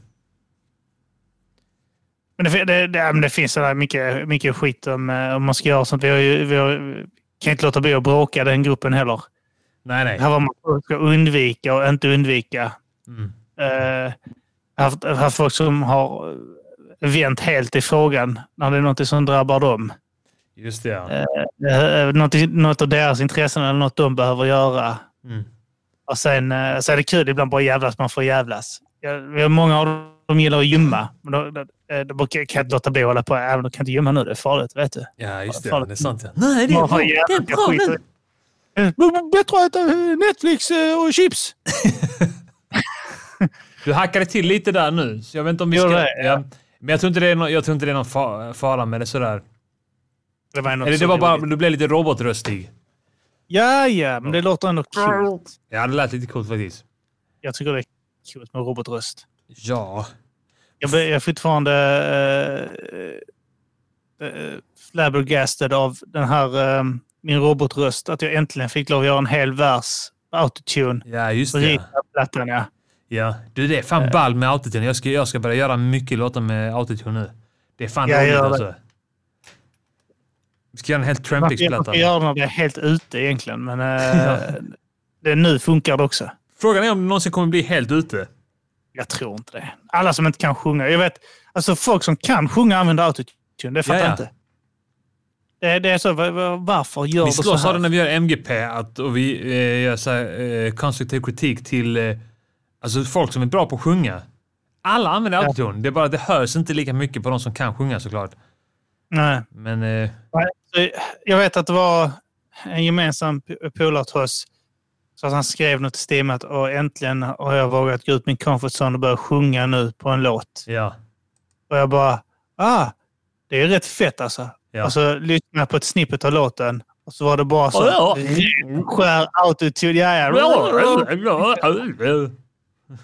B: Men det, fin- det, det, ja, men det finns sådär mycket, mycket skit om, eh, om man ska göra sånt. Vi, har ju, vi har, kan inte låta bli att bråka den gruppen heller.
A: Nej, nej.
B: Det här var man ska undvika och inte undvika.
A: Mm.
B: Eh, haft, haft folk som har eh, vänt helt i frågan när det är något som drabbar dem.
A: Just det, ja.
B: Eh, något, i- något av deras intressen eller något de behöver göra.
A: Mm.
B: Och sen eh, så är det kul ibland bara jävlas man får jävlas. Jag, vi har många av De gillar att gymma. Men då, då, då brukar jag kan jag inte låta bli att hålla på. Även om jag kan inte gymma nu. Det är farligt, vet du.
A: Ja, just det.
B: Fan.
A: Det är sant. Ja. Nej, det är bra. Det är bra nu.
B: nu. Bättre att äta eh, Netflix eh, och chips.
A: Du hackade till lite där nu, så jag vet inte om vi
B: Gör
A: ska...
B: det, ja.
A: ja. Men jag tror inte det är, nå- jag tror inte det är någon fa- fara med det sådär.
B: Det var, ändå
A: Eller
B: så
A: det var bara...
B: roligt.
A: Du blev lite robotröstig.
B: Ja, ja, men det låter ändå
A: Mm.
B: kul.
A: Ja, det lät lite coolt faktiskt.
B: Jag tycker det är kul med robotröst.
A: Ja.
B: Jag blir jag är fortfarande eh, eh, flabbergasted av den här, eh, min robotröst. Att jag äntligen fick lov att göra en hel vers på autotune.
A: Ja, just det.
B: Rita plattan, ja.
A: Ja. Du, det Eh. är fan ball med autotune. Jag ska, jag ska börja göra mycket låtar med autotune nu. Det är fan
B: Ja,
A: roligt
B: gör det.
A: alltså. Vi ska göra en helt
B: Man ska man
A: Trampix-platta.
B: ska göra den när det är helt ute egentligen,
A: (laughs)
B: men eh, det, nu funkar det också.
A: Frågan är om det någonsin kommer bli helt ute.
B: Jag tror inte det. Alla som inte kan sjunga. Jag vet, alltså folk som kan sjunga använder autotune. Det fattar
A: Ja, ja.
B: jag inte. Det, det är så, va- va- varför gör
A: Vi
B: du så
A: slåss av
B: här?
A: det när vi gör MGP att, och vi eh, gör så här, eh, konstruktiv kritik till eh, alltså folk som är bra på att sjunga. Alla använder
B: Ja.
A: autotune. Det är bara att det hörs inte lika mycket på de som kan sjunga såklart.
B: Nej.
A: Men eh,
B: Nej, så Jag vet att det var en gemensam p- polare till oss. Så att han skrev något i stil med att "Åh, äntligen har jag vågat gå ut min comfort zone och börja sjunga nu på en låt.
A: ja.
B: Och jag bara, ah, det är rätt fett alltså.
A: Ja.
B: Och så lyssnade jag på ett snippet av låten och så var Alltså, det bara så.
A: Ja.
B: ren Skär autotune. Ja, ja.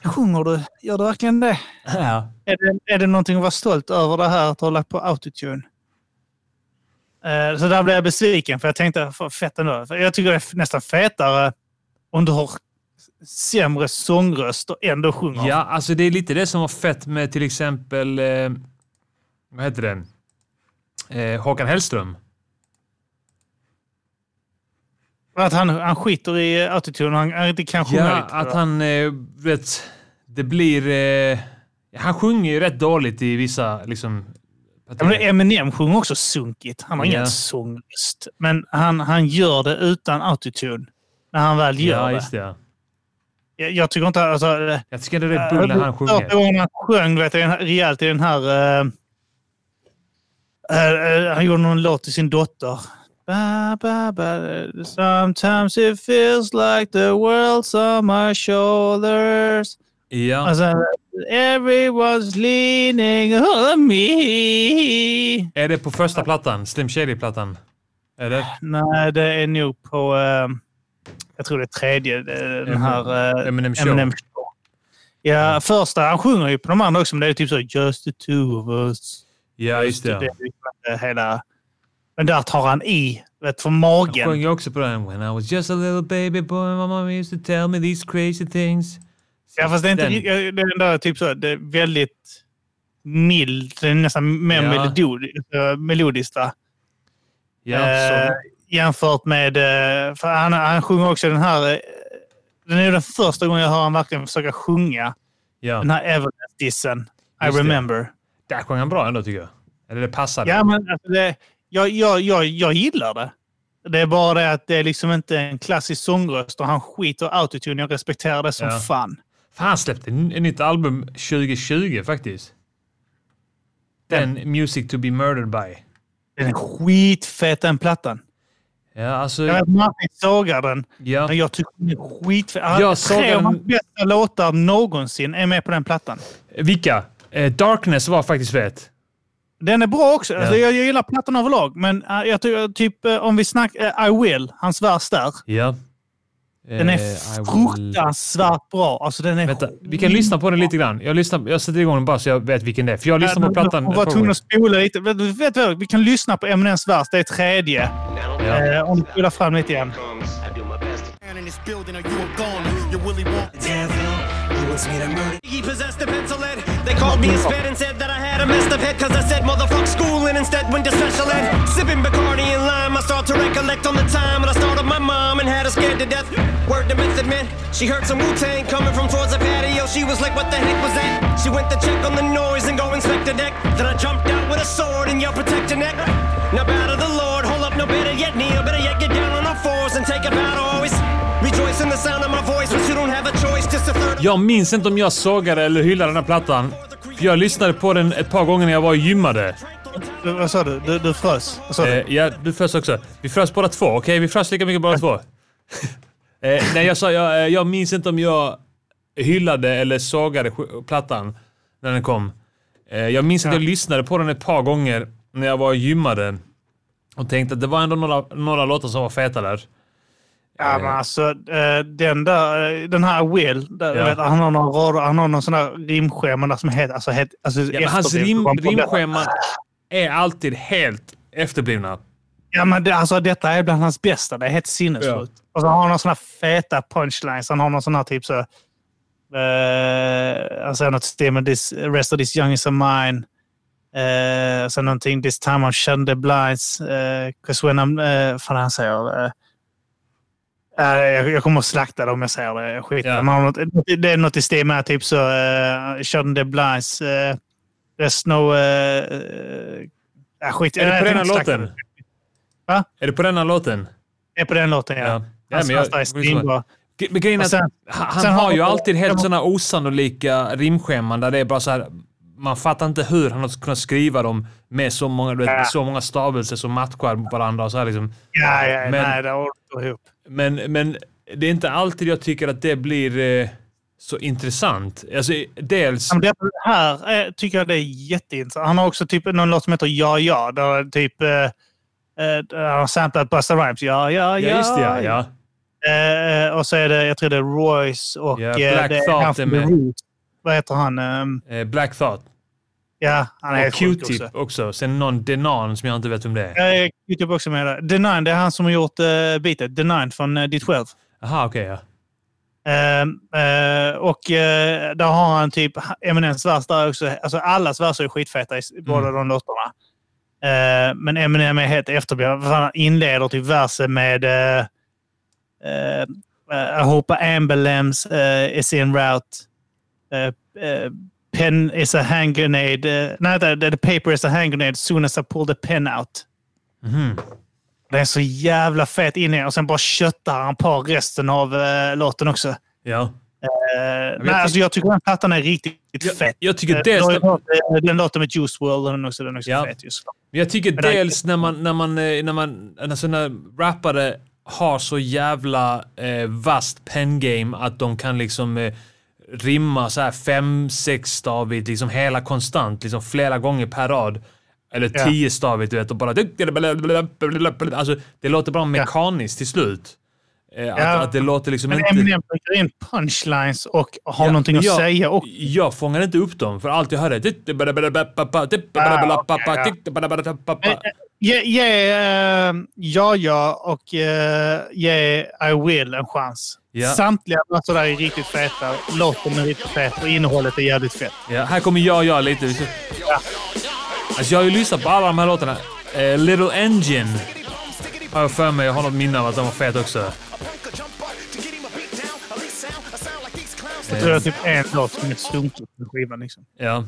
B: Sjunger du? Gör du verkligen det?
A: Ja.
B: Är det, är det någonting att vara stolt över det här att ha lagt på autotune? Eh, Så där blev jag besviken för jag tänkte, "Fan, fett ändå. För Jag tycker det är f- nästan fetare om du har sämre sångröst och ändå sjunger.
A: ja, alltså det är lite det som var fett med till exempel, eh, vad heter den? Eh, Håkan Hellström.
B: För Att han, han skiter i autotune och han, han inte kan sjunga
A: Ja,
B: lite.
A: att han, eh, vet, det blir... Eh, han sjunger ju rätt dåligt i vissa, liksom...
B: Ja, men Eminem sjunger också sunkigt. Han har
A: Ja.
B: ingen sångröst. Men han, han gör det utan autotune när han väl gör
A: ja,
B: det.
A: just det. Ja.
B: Jag, jag tycker inte... Alltså, eh,
A: Jag tycker det är rätt bull när han
B: Första
A: sjunger.
B: gången han sjöng du vet, i den här, rejält i den här... eh, eh, eh, han gjorde någon låt till sin dotter. Ba, ba, ba, eh, sometimes it feels like the world's on my shoulders.
A: Ja,
B: Och sen, everyone's leaning on me.
A: är det på första plattan? Slim Shady-plattan? Är det?
B: Nej, det är nog på... eh, jag tror det är tredje. det är Den
A: Eminem-
B: här... eh,
A: Eminem Show.
B: Eminem Show. Ja, första. Han sjunger ju på de andra också, men det är typ så Just the two of us.
A: Ja, just det.
B: Det
A: ja.
B: är liksom inte hela... Men där tar han i. Vet, från magen.
A: Han sjunger också på den. When I was just a little baby boy, my mama used to tell me these crazy things.
B: Ja, fast det är inte...
A: Den.
B: ri- ja, Det är den där typ så... Det är väldigt mild. Det är nästan mer
A: Ja.
B: melodiskt, eh, melodiskt va?
A: Ja,
B: Eh,
A: så.
B: jämfört med... eh, För han, han sjunger också den här... eh, Den är ju den första gången jag hör han verkligen försöka sjunga.
A: ja.
B: Den här Everest-dissen. I
A: Just det.
B: remember.
A: Där sjöng han bra ändå tycker jag. Eller det passade.
B: Ja, men alltså det, jag, jag, jag, jag gillar det. Det är bara det att det är liksom inte en klassisk sångröst och han skiter autotune. Jag respekterar det som
A: Ja.
B: fan.
A: Fan, han släppte n- ett nytt album 2020 faktiskt. Den Music to be murdered by.
B: Den är skitfet den plattan.
A: Ja, alltså...
B: Jag vet Martin sågar den,
A: Ja,
B: men jag tycker den är skitfet. Han-
A: Jag såg
B: Tre av
A: den-
B: hans bästa låtar någonsin är med på den plattan.
A: vilka? Eh, Darkness var faktiskt fett.
B: Den är bra också. Alltså, jag, jag gillar plattan överlag, men äh, jag tycker typ eh, om vi snackar I Will, hans vers där.
A: Ja.
B: Den är
A: Eh, I will-
B: fruktansvärt bra. Alltså, den är
A: Vänta, vi kan lyssna på den lite grann. Jag, lyssnar, jag sätter igång den bara så jag vet vilken det är. För jag
B: Äh,
A: lyssnar på plattan.
B: Jag var tvungen att spola lite. Vet du vet du vad? Vi kan lyssna på Eminems vers. Det är tredje.
A: Ja.
B: Eh, om du spolar fram lite igen.
C: I do my best to
D: Man in this building or you a goner. You Willy Wonka.
E: He wants me to murder.
D: He possessed a pencil head. They called me a sped and said that I had a messed up head. Cause I said motherfuck school and instead went to special ed. Sipping Bacardi and lime. I start to recollect on the time when I started my mom and had her scared to death. Word to Method Man. She heard some Wu-Tang coming from towards the patio. She was like, what the heck was that? She went to check on the noise and go inspect the deck. Then I jumped out with a sword and yelled protect your neck. Now bow to the Lord. Hold up, no better yet kneel. Better yet get down on all fours and take a bow to always. Rejoice in the sound of my voice, but you don't have a choice. Just a third of
A: Jag minns inte om jag sågade eller hyllade den här plattan. Jag lyssnade på den ett par gånger när jag var och gymmade.
B: Du, vad sa du? Du, du frös? Vad sa du?
A: Eh, ja, du frös också. Vi frös båda två. Okej, vi frös lika mycket båda två. (laughs) eh, nej, jag sa, jag, eh, jag minns inte om jag hyllade eller sågade sk- plattan när den kom. Eh, jag minns att jag lyssnade på den ett par gånger när jag var och gymmade och tänkte att det var ändå några, några låtar som var feta där.
B: Ja, men alltså eh, den där, eh, den här Will, där,
A: Ja.
B: vet, han har några rader, han har någon sån här rimschema där som heter, alltså, het, alltså
A: Ja, men hans
B: efterbliven
A: rim,
B: på den.
A: rimscheman är alltid helt efterblivna.
B: Ja, men det, alltså detta är bland hans bästa, det är helt sinnessjukt. Och så har han några såna här feta punchlines, han har någon sån här typ så, eh, han säger något stil med this, rest of this young is a mine. Uh, sen någonting, this time I'm shutting the blinds. eh, 'cause when I'm, eh, fan han säger, eh, Eh, Jag, jag kommer att slakta det om jag säger det. Skit.
A: Ja.
B: Man har något, det är något i stil med typ så... Uh, Shun the Blinds. Uh, there's no... eh, eh, skit.
A: Är det
B: Nej,
A: på den
B: jag
A: här
B: tänkte slakta
A: låten?
B: det. Va?
A: Är det på den här låten?
B: Det är på den låten, ja.
A: Ja.
B: ja.
A: Ja, men jag-
B: är svinbra.
A: Gre- Men grejen är
B: Och
A: att
B: sen-
A: han, han
B: sen
A: har
B: har-
A: ju alltid helt
B: jag-
A: sådana osannolika rimscheman där det är bara så här. Man fattar inte hur han har kunnat skriva dem med så många, du
B: Ja.
A: vet, så många stavelser som matchar varandra. Och så här liksom.
B: Ja, ja,
A: Men-
B: nej, det håller inte ihop.
A: men, men det är inte alltid jag tycker att det blir eh, så intressant. Alltså, dels...
B: Ja, men Det här eh, tycker jag det är jätteintressant. Han har också typ någon låt som heter Ja, ja. Där är typ... eh, eh, där han har samplat Busta Rhymes. Ja, ja, ja.
A: Ja, just det ja. ja.
B: Eh, och så är det, jag tror det är Royce och...
A: Ja,
B: eh,
A: Black
B: det är
A: Thought
B: han
A: är
B: från
A: med.
B: The Roots. Vad heter han? Ehm,
A: Eh, Black Thought.
B: ja, han är
A: Och
B: helt sjuk
A: Q-Tip
B: också.
A: också. Sen någon Denan som jag inte vet vem det är.
B: Jag är Q-Tip också med där. The Nine, det är han som har gjort uh, beatet. The Nine från uh, Ditt Själv.
A: Aha, okej ja.
B: Ehm, eh, och eh, där har han typ Eminems vers där också. Alltså allas verser är skitfeta i s- båda de låtarna. Eh, men Eminem är helt efterbliven. För Han inleder typ versen med uh, uh, I hope an ambulance eh, is in route. Eh, eh, pen is a hand grenade. eh, nej, the, the paper is a hand grenade soon as I pull the pen out. Det är så jävla fet inledning. Och sen bara köttar han på resten av eh, låten också.
A: ja.
B: Eh,
A: jag
B: nej, alltså jag tycker den plattan är riktigt
A: Jag,
B: fet.
A: jag
B: Eh,
A: tycker dels...
B: då är det- eh, Den låten med Juice WRLD, den är också, den är också
A: Ja.
B: fet. Just.
A: Men jag tycker
B: Men det-
A: dels när man, när man, eh, när man, alltså när rappare har så jävla eh, vast pengame att de kan liksom eh, rimma så här fem, sexstavigt, liksom hela konstant, liksom flera gånger per rad. Eller
B: Ja.
A: tiostavigt, du vet, och bara... Alltså, det låter bara mekaniskt till slut. Eh, att,
B: Ja.
A: att det låter liksom
B: Men
A: inte...
B: Eminem trycker in punchlines och har
A: Ja,
B: någonting att
A: jag-
B: säga. Och,
A: Jag fångade inte upp dem, för allt jag hörde...
B: Eh, eh, ge, ge, eh, ja, ja och eh, ge I Will en chans.
A: Ja.
B: Samtliga låtar där är riktigt feta. Låten är riktigt fet och innehållet är jävligt fett.
A: Ja, här kommer jag och jag lite. Vi ska- Alltså jag har ju lyssnat på alla de här låtarna. Eh, Little Engine har jag för mig. Jag har något minne av att den var fet också.
B: Jag
A: Eh.
B: tror det är typ en låt som är stunkig på skivan. Liksom.
A: Ja.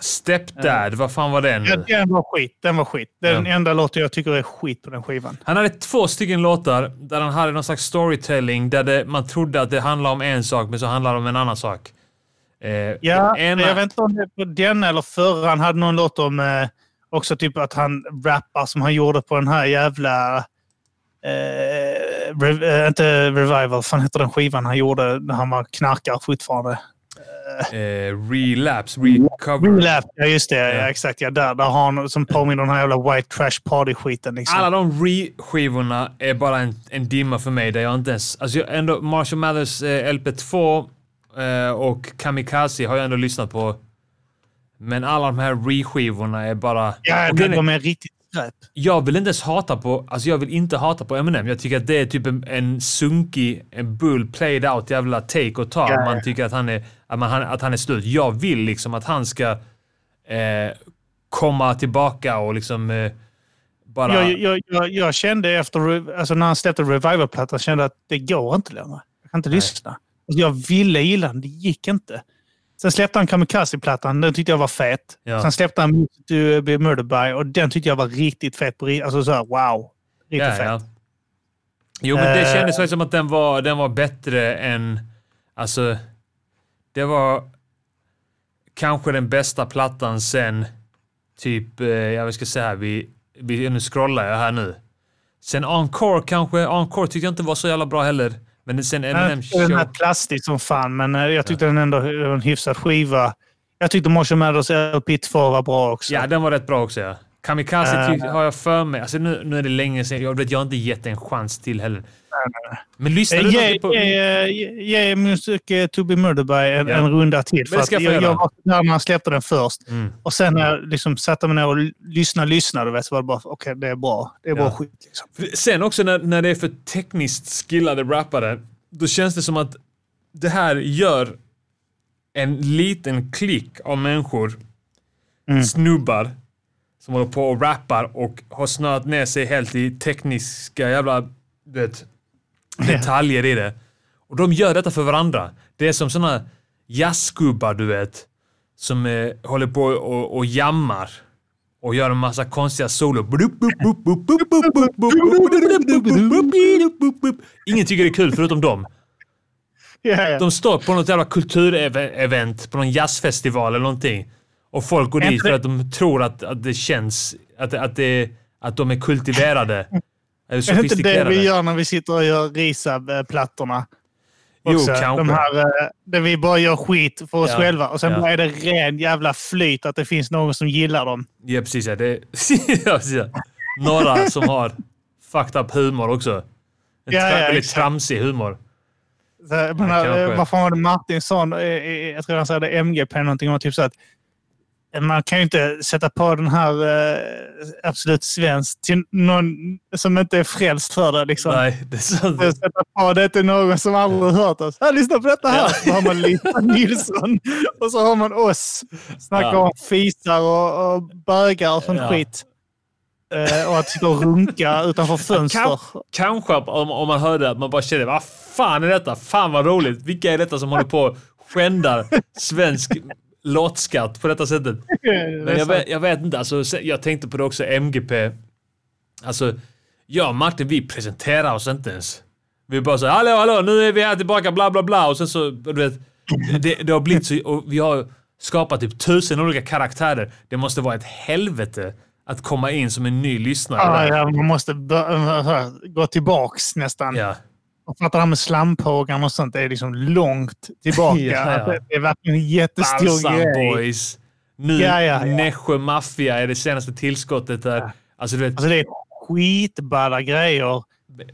A: Stepdad, vad fan var den?
B: Ja, den var skit. Den var skit. Det är den
A: Ja.
B: enda låten jag tycker är skit på den skivan.
A: Han hade två stycken låtar där han hade någon slags storytelling där det, man trodde att det handlade om en sak men så handlade det om en annan sak. Eh,
B: Ja,
A: den ena-
B: jag vet inte om det är på den eller förra. Han hade någon låt om eh, också typ att han rappar som han gjorde på den här jävla... Eh, rev, eh, inte Revival, vad fan heter den skivan han gjorde när han var knarkare fortfarande?
A: eh, relapse, recover.
B: Relapse, ja just det. Ja.
A: Ja.
B: exakt. Ja, där, där har han som påminner om den här jävla White Trash Party-skiten. Liksom.
A: Alla de re-skivorna är bara en, en dimma för mig där jag inte ens... Alltså jag, ändå Marshall Mathers eh, LP2 eh, och Kamikaze har jag ändå lyssnat på. Men alla de här re-skivorna är bara...
B: ja,
A: Och
B: de,
A: grejen är,
B: de är riktigt skräp.
A: jag vill inte ens hata på... Alltså jag vill inte hata på Eminem. Jag tycker att det är typ en, en sunkig, en bull played out jävla take och ta.
B: Ja,
A: Man
B: ja.
A: tycker att han, är, att, man, han, att han är slut. Jag vill liksom att han ska eh, komma tillbaka och liksom eh, bara...
B: Jag, jag, jag, jag kände efter Re- alltså när han släppte Revival-plattan kände jag att det går inte längre. Jag kan inte lyssna. Alltså jag ville gilla den, det gick inte. Sen släppte han Kamikaze-plattan, den tyckte jag var fet.
A: Ja.
B: Sen släppte han Music to Be Murdered By och den tyckte jag var riktigt fet. på ri- Alltså så här, wow. Riktigt fet.
A: Jo, men det
B: Eh.
A: kändes faktiskt som att den var, den var bättre än... Alltså, det var... kanske den bästa plattan sen typ, eh, ja, vad ska jag säga här, vi, vi, nu scrollar jag här nu. Sen Encore kanske, Encore tyckte jag inte var så jävla bra heller. Men sen Eminem
B: Den den här
A: Show.
B: plastig som fan, men eh, jag tyckte den ändå var en hyfsad skiva. Jag tyckte Marshall Mathers LP2 var bra också.
A: Ja, den var rätt bra också ja. Kamikaze
B: Eh.
A: tyck, har jag för mig. Alltså nu, nu är det länge sedan. Jag, vet, jag har inte gett den en chans till heller.
B: Eh.
A: Men lyssnade du
B: Ge
A: någonting på...
B: yeah, Music eh, To Be Murdered By en,
A: Ja.
B: en runda till. För
A: det
B: att
A: ska jag
B: jag,
A: få
B: jag,
A: göra.
B: var där när han släppte den först.
A: Mm.
B: Och sen när jag liksom satte mig ner och l- lyssnade, lyssnade, vet, så var det bara okej, det är bra. Det är
A: Ja.
B: bra skit. Liksom.
A: Sen också när, när det är för tekniskt skillade rappare, då känns det som att det här gör en liten klick av människor, snubbar, som håller på och rappar och har snöat ner sig helt i tekniska jävla du vet, detaljer i det. Och de gör detta för varandra. Det är som såna jazzgubbar, du vet, som eh, håller på och, och jammar och gör en massa konstiga solo. Ingen tycker det är kul förutom dem.
B: Ja, ja.
A: De står på något jävla kulturevent, på någon jazzfestival eller någonting. Och folk går dit för att de tror att, att det känns, att, att, det, att de är kultiverade. Eller
B: Är det inte det vi
A: sofistikerade.
B: gör när vi sitter och gör Risab-plattorna?
A: Jo,
B: också.
A: kanske.
B: De här, eh, där vi bara gör skit för oss
A: Ja.
B: själva och sen
A: Ja.
B: är det ren jävla flyt att det finns någon som gillar dem.
A: Ja, precis. Ja, det, (laughs) ja, precis ja. Några som har fucked up humor också. En
B: Ja,
A: tra-
B: ja,
A: väldigt
B: exakt.
A: tramsig humor.
B: Så, jag menar,
A: kanske.
B: eh, vad fan var det Martinsson, eh, eh, jag tror han sa det, MGP eller någonting, om typ så att eh, man kan ju inte sätta på den här eh, Absolut Svenskt till någon som inte är frälst för det. Liksom.
A: Nej, det är sant.
B: Sätta på det till någon som aldrig har hört oss. Här, lyssna på detta här! Så har man
A: (laughs)
B: Lisa Nilsson och så har man oss. Snackar
A: Ja.
B: om fisar och, och bögar och sånt
A: Ja.
B: skit. Eh, och att sitta och runka utanför fönster.
A: Kan- kanske om, om man hörde att man bara kände vad fan är detta? Fan vad roligt. Vilka är detta som håller på och skändar svensk låtskatt på detta sättet? Men jag vet, jag vet inte, alltså, se- jag tänkte på det också, MGP. Alltså, jag och Martin vi presenterar oss inte ens. Vi bara så hallå, hallå, nu är vi här tillbaka, bla, bla, bla. Och sen så, du vet, det, det har blivit så, och vi har skapat typ tusen olika karaktärer. Det måste vara ett helvete att komma in som en ny lyssnare.
B: Ja,
A: där.
B: Ah, ja, man måste bör- gå tillbaks nästan.
A: Ja.
B: Och för att det här med slamphågan och sånt är liksom långt tillbaka.
A: Ja, (laughs) ja.
B: Att Det det är verkligen en jättestor
A: Balsam
B: grej.
A: Boys. Nu
B: Ja, ja, ja.
A: Nässjö Mafia är det senaste tillskottet där. Alltså du vet,
B: Alltså det är skitballa grejer.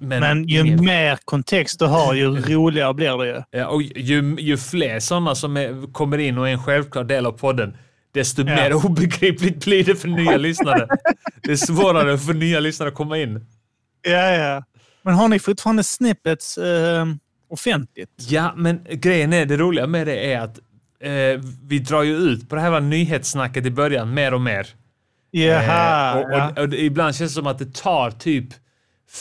A: men,
B: Men ju mer kontext du
A: (laughs)
B: har, ju roligare blir det ju.
A: ja, och ju, ju fler sådana som är, kommer in och är en självklar del av podden, desto mer (laughs) obegripligt blir det för nya lyssnare. Det är svårare för nya lyssnare att komma in.
B: Ja, ja. Men har ni fortfarande snippets eh, offentligt?
A: Ja, men grejen är, det roliga med det är att eh, vi drar ju ut på det här var nyhetssnacket i början mer och mer.
B: Jaha.
A: Eh, och,
B: ja.
A: och, och det, ibland känns det som att det tar typ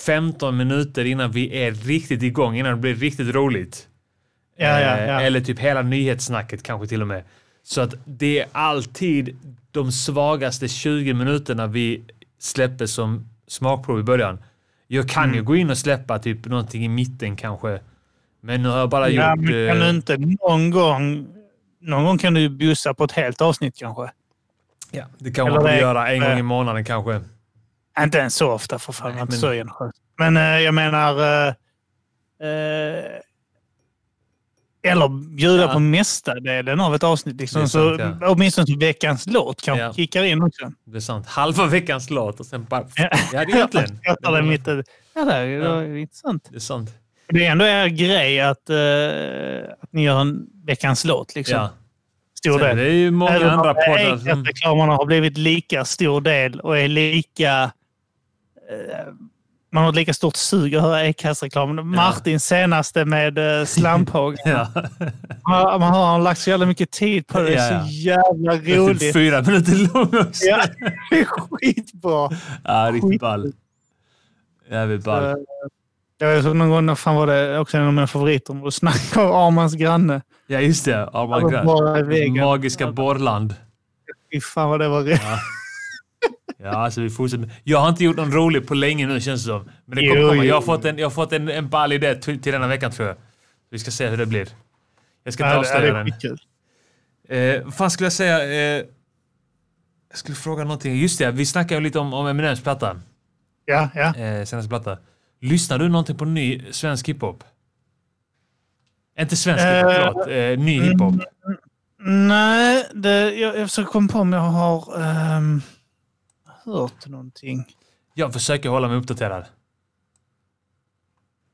A: 15 minuter innan vi är riktigt igång, innan det blir riktigt roligt.
B: ja, ja,
A: Eh,
B: ja.
A: Eller typ hela nyhetssnacket kanske till och med. Så att det är alltid de svagaste 20 minuterna vi släpper som smakprov i början. Jag kan
B: Mm.
A: ju gå in och släppa typ någonting i mitten kanske. Men nu har jag bara
B: ja,
A: gjort...
B: men kan
A: eh,
B: du inte någon gång... Någon gång kan du ju bjussa på ett helt avsnitt kanske.
A: ja, det kan man
B: eller
A: borde
B: det-
A: göra en gång
B: eh,
A: i månaden kanske.
B: Inte ens så ofta för fan, jag är inte
A: men-
B: så generös. Men eh, jag menar... Eh, eh, eller bjuda
A: Ja.
B: på mestadelen av ett avsnitt.
A: Det är
B: Liksom,
A: sant,
B: så, Åtminstone till veckans låt kanske
A: Ja.
B: kickar in också.
A: Det är sant. Halva veckans låt och sen bara... Ja, det är egentligen...
B: (laughs) Jag tar det mitt i. Ja, det är det är intressant.
A: Det är sant.
B: Det är ändå er grej att, eh, att ni gör en veckans låt. Liksom.
A: Ja.
B: Stor
A: Sen,
B: del.
A: det är ju många
B: Även om
A: andra poddar
B: Acast
A: som...
B: reklamerna har blivit lika stor del och är lika... eh, man har ett lika stort sug att höra Acast-reklamen. Martin senaste med uh, slamphåg.
A: Ja.
B: man, man har lagt så jävla mycket tid på det. Det är
A: Ja, ja.
B: så jävla
A: Typ (laughs)
B: roligt.
A: fyra minuter lång också.
B: Ja, det är skitbra.
A: Ja, riktigt
B: Skit.
A: ball. Jävligt
B: Eh,
A: ball.
B: Jag såg någon gång, när fan var det också en av mina favoriter, och snackade om Armans granne.
A: Ja, just det. Oh my
B: Alla
A: god.
B: bara i väggen.
A: Magiska Borland.
B: Fy fan vad det var roligt.
A: Ja, alltså vi fortsätter. Jag har inte gjort någon rolig på länge nu känns det som. Men det kommer
B: Jo,
A: komma. Jag har
B: jo.
A: fått en, jag har fått en, en ball idé till till denna veckan tror jag. Vi ska se hur det blir. Jag ska inte
B: Ja, det- ja,
A: avslöja
B: det är
A: den.
B: skitkul.
A: Eh, vad fan skulle jag säga? Eh, jag skulle fråga någonting. Just det, vi snackade ju lite om, om Eminems platta.
B: Ja, ja.
A: Eh, senaste platta. Lyssnar du någonting på ny svensk hiphop? Inte svensk hiphop,
B: Eh,
A: förlåt. Eh, ny hiphop.
B: Nej, det, jag, jag försöker komma på om jag har ehm, hört någonting.
A: Jag försöker hålla mig uppdaterad. Eh,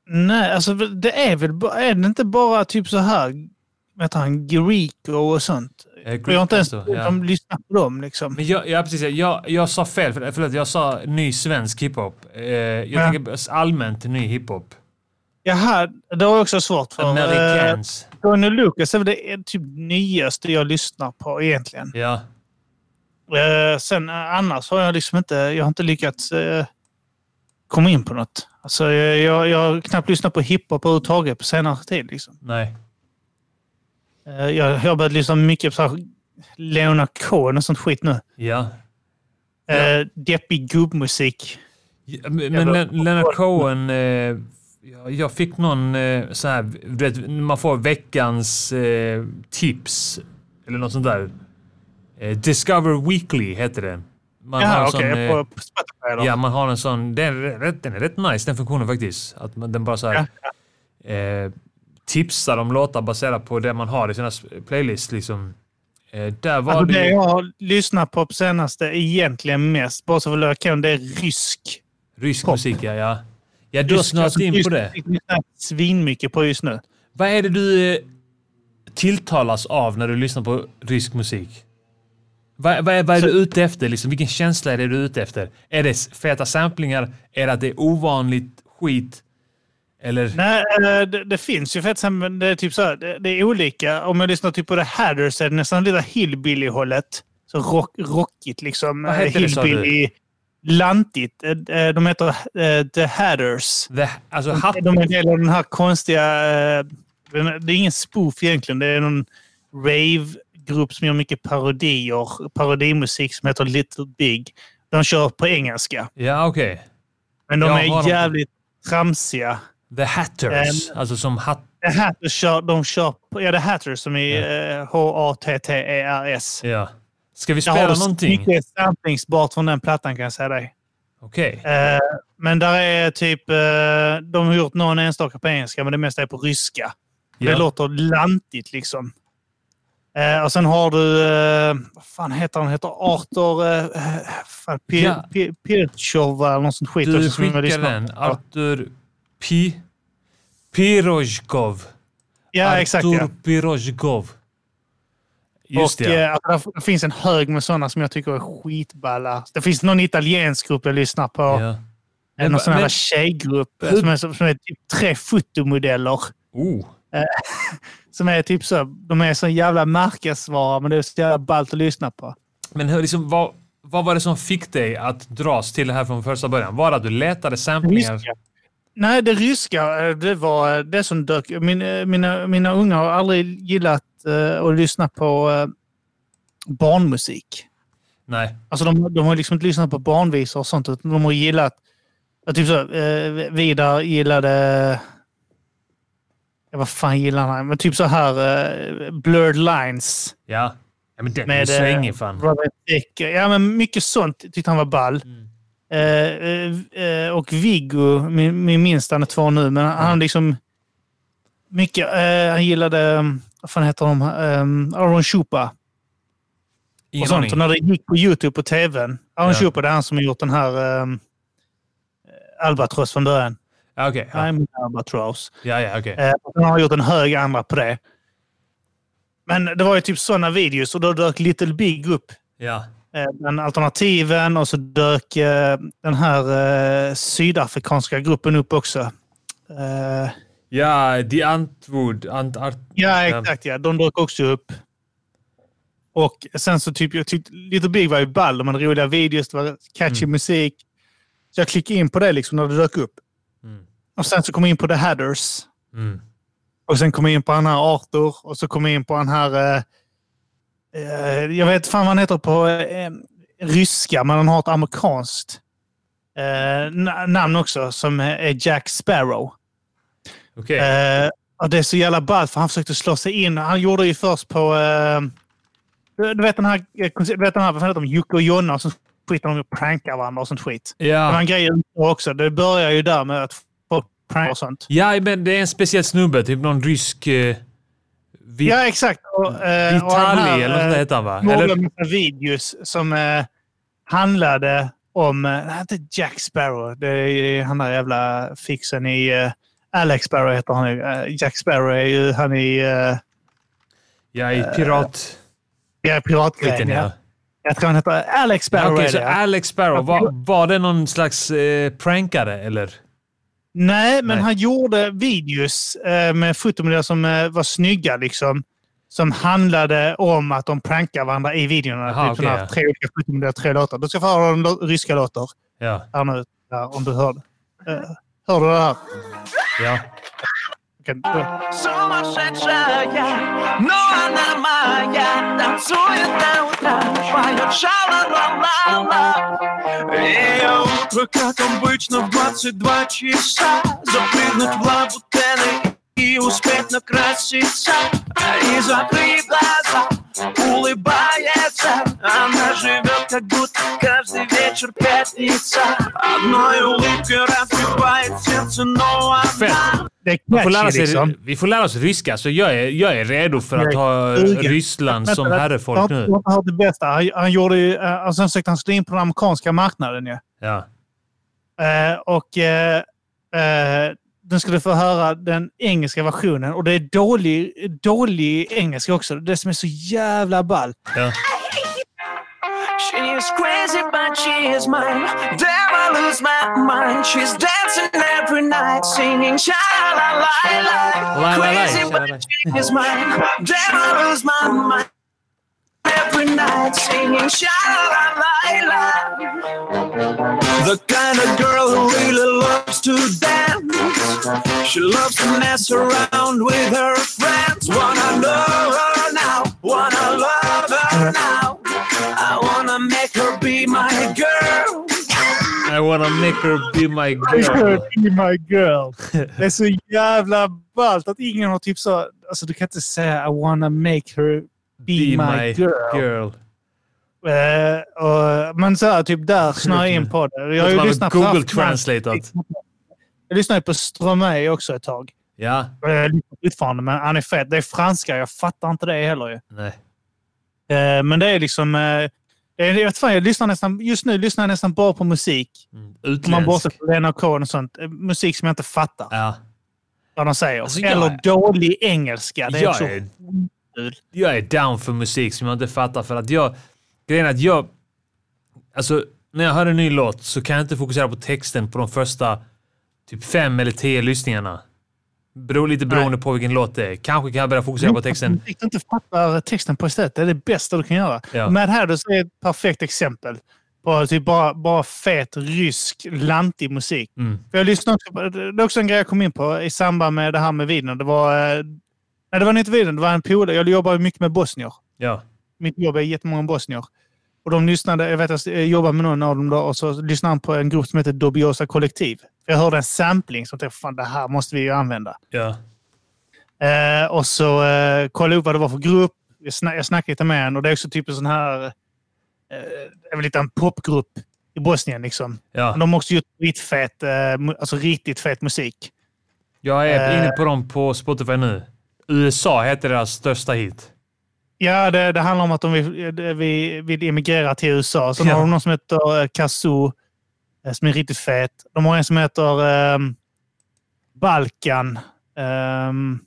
B: Nej, alltså det är väl ba- är det inte bara typ så här, vad heter han, Greco och sånt?
A: Eh,
B: jag har inte ens
A: Greco, ja.
B: de lyssnar på dem liksom.
A: Men jag, ja, precis, jag, jag sa fel. För, förlåt, jag sa ny svensk hiphop. Eh, jag
B: Ja.
A: tänker allmänt ny hiphop.
B: Jaha, det har jag också svårt för. Eh,
A: Americans.
B: Tony Lucas är väl det är typ nyaste jag lyssnar på egentligen.
A: Ja.
B: Eh, sen eh, annars har jag liksom inte, jag har inte lyckats eh, komma in på något. Alltså, jag, jag, jag har knappt lyssnat på hiphop överhuvudtaget på senare tid. Liksom.
A: Nej.
B: Eh, jag jag har börjat lyssna mycket på så här Leona Cohen och sånt skit nu.
A: Ja.
B: Eh, deppig gubbmusik.
A: Ja, Men men Len- Leonard Cohen, eh, jag- jag fick någon eh, så här, du vet, man får veckans eh, tips eller något sånt där. Eh, Discover Weekly heter det. Man har en
B: Jaha,
A: sån,
B: okej.
A: eh,
B: på, på Spotify eller?
A: ja, man har en sån, den är, rätt, den är rätt nice den funktionen faktiskt. Att man, den bara så här, eh, tipsar om låtar baserat på det man har i sina s- playlists liksom. Eh, där var
B: Alltså,
A: det
B: det
A: ju
B: jag har lyssnat på på senaste egentligen mest, bara så för lökan, det är rysk. Alltså,
A: rysk
B: pop.
A: musik ja. ja. Ja, du har snöat in på det.
B: Svin mycket på just nu.
A: Vad är det du eh, tilltalas av när du lyssnar på rysk musik? Vad, vad, är, vad är du ute efter? Liksom? Vilken känsla är det du är ute efter? Är det s- feta samplingar? Är det att det är ovanligt skit? Eller?
B: Nej, eh, det, det finns ju fett men det är typ så här, det, det är olika. Om jag lyssnar typ på The Hatters så är det nästan lite hillbilly-hållet. Så rock, rockigt liksom.
A: Vad
B: Eh,
A: heter det, sa du?
B: hillbilly, lantigt. Eh, eh, De heter eh, The Hatters.
A: The, alltså hatt...
B: De är en del av den här konstiga... eh, den är- Det är ingen spoof egentligen. Det är någon rave-grupp som gör mycket parodier. Parodimusik som heter Little Big. De kör på engelska.
A: Ja, okej.
B: Men de
A: Jag har
B: är
A: dem.
B: jävligt tramsiga.
A: The Hatters.
B: Ehm.
A: alltså som hatt...
B: Det här de kör, de kör på, ja, det Hatters som är eh, H-A-T-T-E-R-S.
A: Ja. Ska vi
B: E Jag har
A: spela
B: så
A: någonting?
B: mycket samplingsbart från den plattan kan jag säga dig.
A: Okej.
B: Eh, men där är typ, eh, de har gjort någon enstaka på engelska men det mesta är på ryska.
A: Ja.
B: Det låter lantigt liksom. Eh, och sen har du, eh, vad fan heter han? Heter Arthur eh, fan, Pir,
A: Ja.
B: Pir, Pirchova eller något sånt skit.
A: Du
B: också som jag
A: skickar
B: lyssnar
A: den.
B: på.
A: Artur Pi... Pirozhkov.
B: Ja, exakt.
A: Artur
B: Ja.
A: Pirozhkov. Just
B: och
A: det.
B: eh, alltså, det finns en hög med sådana som jag tycker är skitballa. Det finns någon italiensk grupp jag lyssnar på.
A: Ja.
B: Eh,
A: Men-
B: någon sån
A: men-
B: här tjejgrupp eh,
A: Hur-
B: som är, som är typ tre fotomodeller.
A: Oh.
B: Som är typ så, de är så jävla märkesvara men det är så jävla ballt att lyssna på.
A: Men hör, liksom, vad, vad var det som fick dig att dras till det här från första början? Var det att du letade samplingar?
B: Ryska. Nej, det ryska, eh, det var det som dök. Min, eh, mina, mina unga har aldrig gillat eh, att lyssna på eh, barnmusik.
A: Nej.
B: Alltså de, de har liksom inte lyssnat på barnvisor och sånt, utan de har gillat... ja, Typ så, eh, Vidar gillade... Ja, vad fan gillar han? Men typ så här, eh, Blurred Lines.
A: Ja. ja men den är ju
B: Med, eh,
A: svängig fan.
B: Robert Dick. Ja, men mycket sånt tyckte han var ball. Eh, eh, eh, och Viggo, min, min minsta, han är två nu, men han liksom... Mycket, eh, han gillade, um, vad fan heter de, um, Aaron Chupa. Och
A: Ingen
B: sånt. Och
A: aning.
B: när det gick på YouTube och TVn.
A: Ja.
B: Aaron Chupa, det är han som har gjort den här um, Albatross från början.
A: Ja, okej. Ja,
B: I'm Albatross.
A: ja, ja okej.
B: Eh, och han har gjort en hög andra på det. Men det var ju typ sådana videos och då dök Little Big upp
A: Ja.
B: Eh, Men alternativen och så dök eh, den här eh, sydafrikanska gruppen upp också. Eh,
A: Ja, The Antwood. Ant, art,
B: ja, exakt. Ja. De dök också upp. Och sen så typ, jag tyckte Little Big var ju ball. De hade roliga videos, det var catchy musik. Så jag klickade in på det liksom när det dök upp.
A: Mm.
B: Och sen så kom jag in på The Hatters.
A: Mm.
B: Och sen kom jag in på han här Arthur och så kom jag in på han här... Eh, eh, jag vet fan vad han heter på eh, ryska, men han har ett amerikanskt eh, na- namn också som är Jack Sparrow.
A: Okej.
B: Eh, och det är så jävla ballt för han försökte slå sig in. Han gjorde det ju först på eh, Du vet den här, eh, konce- du vet den här vad fan heter de, Jocke och Jonna som skiter de och prankar varandra och sånt skit. Det var
A: Ja.
B: en grej också. Det börjar ju där med att folk prankar och sånt.
A: ja, men det är en speciell snubbe. Typ någon rysk... Eh, vi,
B: Ja, exakt. Och, eh, och han här,
A: Vitali eller något sånt där
B: eh,
A: heter han, va?
B: några
A: Eller,
B: massa videos som eh, handlade om, eh, nej, inte Jack Sparrow, det är ju han där jävla fixen i, eh, Alex Sparrow heter han ju. Eh, Jack Sparrow är ju han i, eh,
A: ja, i pirat...
B: ja, piratgrejen.
A: Skiten,
B: Eh, Ja.
A: ja.
B: Jag tror han heter Alex Sparrow.
A: Okej,
B: är
A: så
B: det, ja.
A: Alex Sparrow, var, var det någon slags eh, prankare, eller?
B: Nej, men
A: Nej.
B: han gjorde videos eh, med fotomiljöer som eh, var snygga. Liksom, som handlade om att de prankar varandra i videorna.
A: Aha,
B: typ såna
A: okej,
B: här
A: ja.
B: tre olika fotomiljöer, tre låtar. Du ska få höra de lo- ryska låtar
A: Ja.
B: här nu, ja, om du hör det. Eh, hör du det här?
A: ja.
B: Okej, då-
C: Сумасшедшая, но она моя Танцует до утра, поет шала-ла-ла-ла Ее утро, как обычно, в 22 часа Запрыгнуть в лабутены и успеть накраситься И закрыть глаза, улыбается Она живет, как будто каждый вечер пятница Одной улыбкой разбивает сердце, но она
A: Fett.
B: det är
A: Man får lära
B: catchy,
A: sig,
B: liksom.
A: vi får lära oss ryska, så jag är, jag är redo för att ha
B: Sugen.
A: Ryssland som
B: Vänta, Jag
A: herrefolk
B: har
A: nu.
B: jag har inte hört det bästa. Han, han gjorde ju, eh, och sen försökte han slå in på den amerikanska marknaden ju.
A: Ja.
B: Eh, och eh, eh, den skulle få höra den engelska versionen. Och det är dålig, dålig engelska också. Det är det som är så jävla ball.
A: Ja.
C: She's crazy, but she is mine. Never lose my mind. She's dancing every night, singing sha la la la.
A: la, la,
C: Crazy,
A: sha-la-la.
C: but she is mine. Never lose my mind. Every night, singing sha la la la. The kind of girl who really loves to dance. She loves to mess around with her friends. Wanna know her now, wanna love her now. I wanna make her be my girl.
A: I wanna make her be my girl.
B: Be my girl. Det är så jävla ballt att ingen har typ så... Alltså du kan inte säga I wanna make her be, my, girl.
A: girl.
B: Eh, och, men så här, typ där snöar jag in på det. Jag har
A: Låter
B: ju
A: man
B: lyssnat på
A: Google
B: Aftonbladet.
A: translateat.
B: Jag lyssnade ju på Stromae också ett tag.
A: Ja,
B: Eh, Jag lyssnar fortfarande, men han är fet. Det är franska, jag fattar inte det heller ju.
A: nej.
B: Eh, Men det är liksom... eh, det är- Jag vet fan, jag lyssnar nästan, just nu lyssnar jag nästan bara på musik.
A: Mm,
B: Om man bortser
A: Utländsk.
B: från Lena Cohen och sånt. Eh, Musik som jag inte fattar
A: Ja.
B: vad de säger.
A: Alltså, jag-
B: Eller dålig engelska. Det är
A: Jag
B: också
A: är-
B: kul.
A: jag är down för musik som jag inte fattar för att jag... Grejen är att jag... Alltså, när jag hör en ny låt så kan jag inte fokusera på texten på de första typ fem eller tio lyssningarna. Beror lite beroende på vilken låt det är. Kanske kan jag börja fokusera på texten.
B: Om du inte fattar texten på istället. Det är det bästa du kan göra.
A: Ja.
B: Mad Hatters är ett perfekt exempel på typ bara, bara fet rysk lantig musik.
A: Mm.
B: För jag lyssnade också på, det är också en grej jag kom in på i samband med det här med videon. Det var, eh, nej, det var inte videon, det var en polare. Jag jobbar ju mycket med bosnier.
A: Ja.
B: Mitt jobb är jättemånga bosnier. Och de lyssnade, jag vet att jag jobbade med någon av dem då, och så lyssnade han på en grupp som heter Dubiosa Kollektiv. För jag hörde en sampling som tänkte, fan det här måste vi ju använda.
A: Ja.
B: Eh, och så eh, kollade jag upp vad det var för grupp. Jag, sna- jag snackade lite med en och det är också typ en sån här... Eh, det är väl lite en popgrupp i Bosnien liksom.
A: Ja.
B: Men De har också gjort riktigt fet, eh, mu- alltså riktigt fet musik.
A: Jag
B: Eh.
A: är inne på dem på Spotify nu. USA heter deras största hit.
B: Ja, det, det handlar om att de vill, eh, vi vill emigrera till USA. Sen
A: Ja.
B: har de någon som heter eh, Kazoo, eh, som är riktigt fet. De har en som heter ehm, Balkan. Ehm,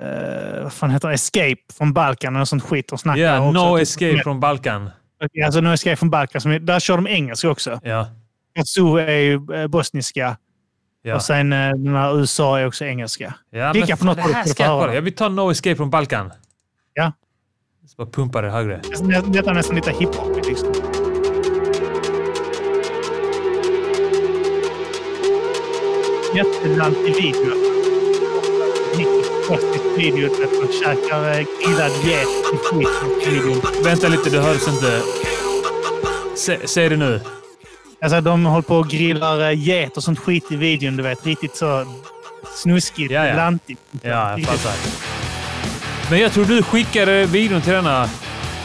B: eh, vad fan heter det? Escape från Balkan och sånt skit. De snackar
A: Yeah,
B: också.
A: No
B: Typ-
A: Escape från Balkan.
B: Okej, Alltså nu ska jag från Balkan. Som är, där kör de engelska också.
A: Ja.
B: Kazoo är ju eh, bosniska
A: Ja.
B: och sen eh, den här USA är också engelska.
A: Ja,
B: Klicka
A: men
B: på något
A: fan,
B: håll
A: det här
B: för att
A: ska jag
B: höra.
A: kolla. Jag vill ta No Escape från Balkan.
B: Ja.
A: Så bara pumpa det högre.
B: Det- Detta är nästan lite hiphop. Liksom. Jättelantig video. Riktigt konstigt video. Att man käkar eh, grillad get i skit. i videon.
A: Vänta lite, det hörs inte. Sä, säg det nu.
B: Alltså de håller på och grillar eh, get och sånt skit i videon. Du vet, riktigt så snuskigt,
A: Ja, ja.
B: lantigt.
A: Ja, jag
B: Riktigt
A: fattar. Men jag tror du skickade eh, videon till denna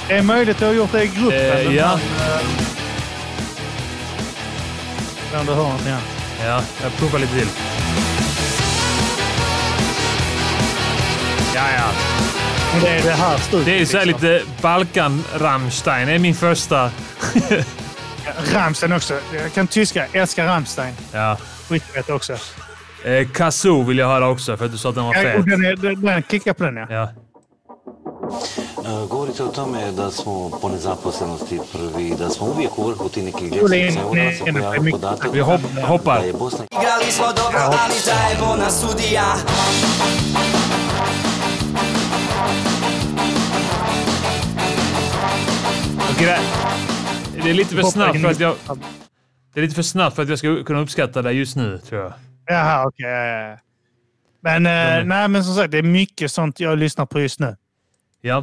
B: Det är möjligt att du har gjort det i gruppen.
A: Eh,
B: men
A: ja,
B: Om du hör någonting annat.
A: ja, jag provar lite till. Ja, ja.
B: Men Det är det här stuket.
A: Det är ju såhär
B: liksom.
A: lite Balkan-Rammstein. Det är min första... (laughs)
B: Rammstein också. Jag kan tyska. Jag älskar Rammstein.
A: Ja.
B: Skitfett också.
A: Eh, Kazoo vill jag höra också, för att du sa att den var
B: Ja,
A: fet.
B: och Den, är- den, den kickar på den ja.
A: Ja.
F: E, Govorite o tome da smo po nezaposlenosti prvi, da smo uvijek u vrhu ti nekih
B: Julije,
F: 10
B: ne,
F: eura, se
B: ne, ne, mi-
F: pojavio podatak
A: Vi hop
F: da
A: hoppar.
F: je Bosna
E: Igrali smo dobro, ali zajebo na sudija.
A: Okej, det, det är lite för
B: Hoppa
A: snabbt
B: in
A: för att jag...
B: i-
A: Det är lite för snabbt för att jag ska kunna uppskatta det just nu, tror jag.
B: Jaha, okej. ja, ja, ja. Men,
A: Mm.
B: eh, nej, men som sagt, det är mycket sånt jag lyssnar på just nu.
A: Ja.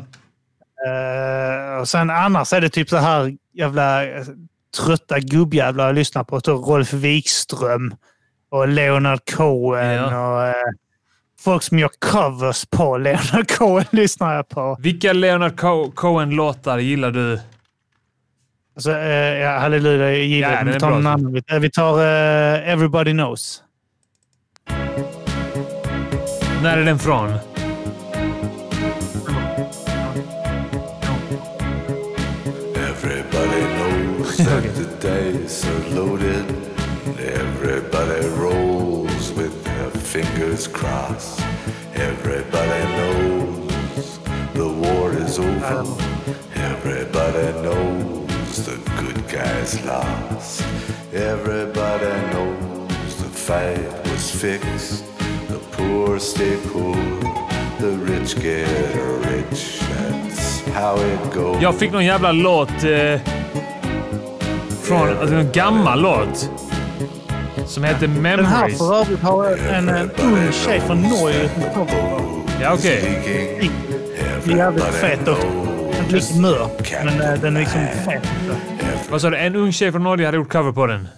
B: Eh, och sen annars är det typ så här jävla eh, trötta gubbjävlar jag lyssnar på. Typ Rolf Wikström och Leonard Cohen.
A: Ja.
B: Och, eh, folk som gör covers på Leonard (laughs) Cohen lyssnar jag på.
A: Vilka Leonard Co- Cohen-låtar gillar du?
B: Alltså, eh, ja, halleluja, jag gillar
A: Ja,
B: det.
A: den
B: Vi
A: är
B: tar,
A: bra.
B: någon annan. Vi- eh, vi tar eh, Everybody Knows.
A: När är den från?
G: Everybody knows that the dice are loaded. Everybody rolls with their fingers crossed. Everybody knows the war is over. Everybody knows the good guys lost. Everybody knows the fight was fixed. The poor stay poor, the rich get rich. That's how it goes.
A: Jag fick någon jävla låt... Eh, från... Alltså, en gammal låt. Som heter
B: Den här
A: Memories.
B: för övrigt har en, eh, en ung tjej från Norge som kommer.
A: Ja, okej.
B: Jävligt fet också. Inte riktigt mör, men eh, den är liksom fet.
A: Vad sa du? En ung tjej från Norge hade gjort cover på den?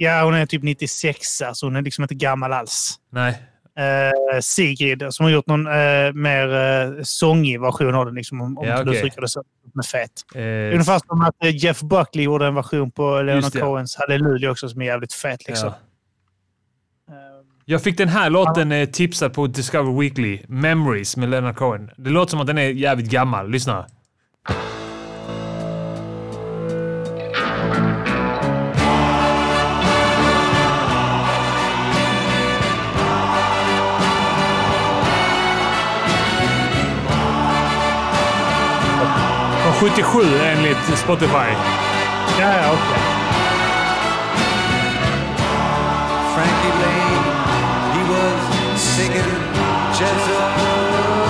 B: Ja, hon är typ 96, så hon är liksom inte gammal alls.
A: Nej.
B: Eh, Sigrid, som har gjort någon eh, mer eh, sångig version av den, liksom, om, om
A: Ja,
B: du
A: okej.
B: uttrycker det så. Den är fet.
A: Eh,
B: Ungefär som att eh, Jeff Buckley gjorde en version på Leonard
A: det.
B: Cohens Halleluja också, som är jävligt fet. Liksom.
A: ja. Ehm, Jag fick den här låten eh, tipsad på Discover Weekly. Memories med Leonard Cohen. Det låter som att den är jävligt gammal. Lyssna. Från 77 enligt Spotify.
B: Ja, ja, okej.
H: Frankie Lane, he was singing Jezebel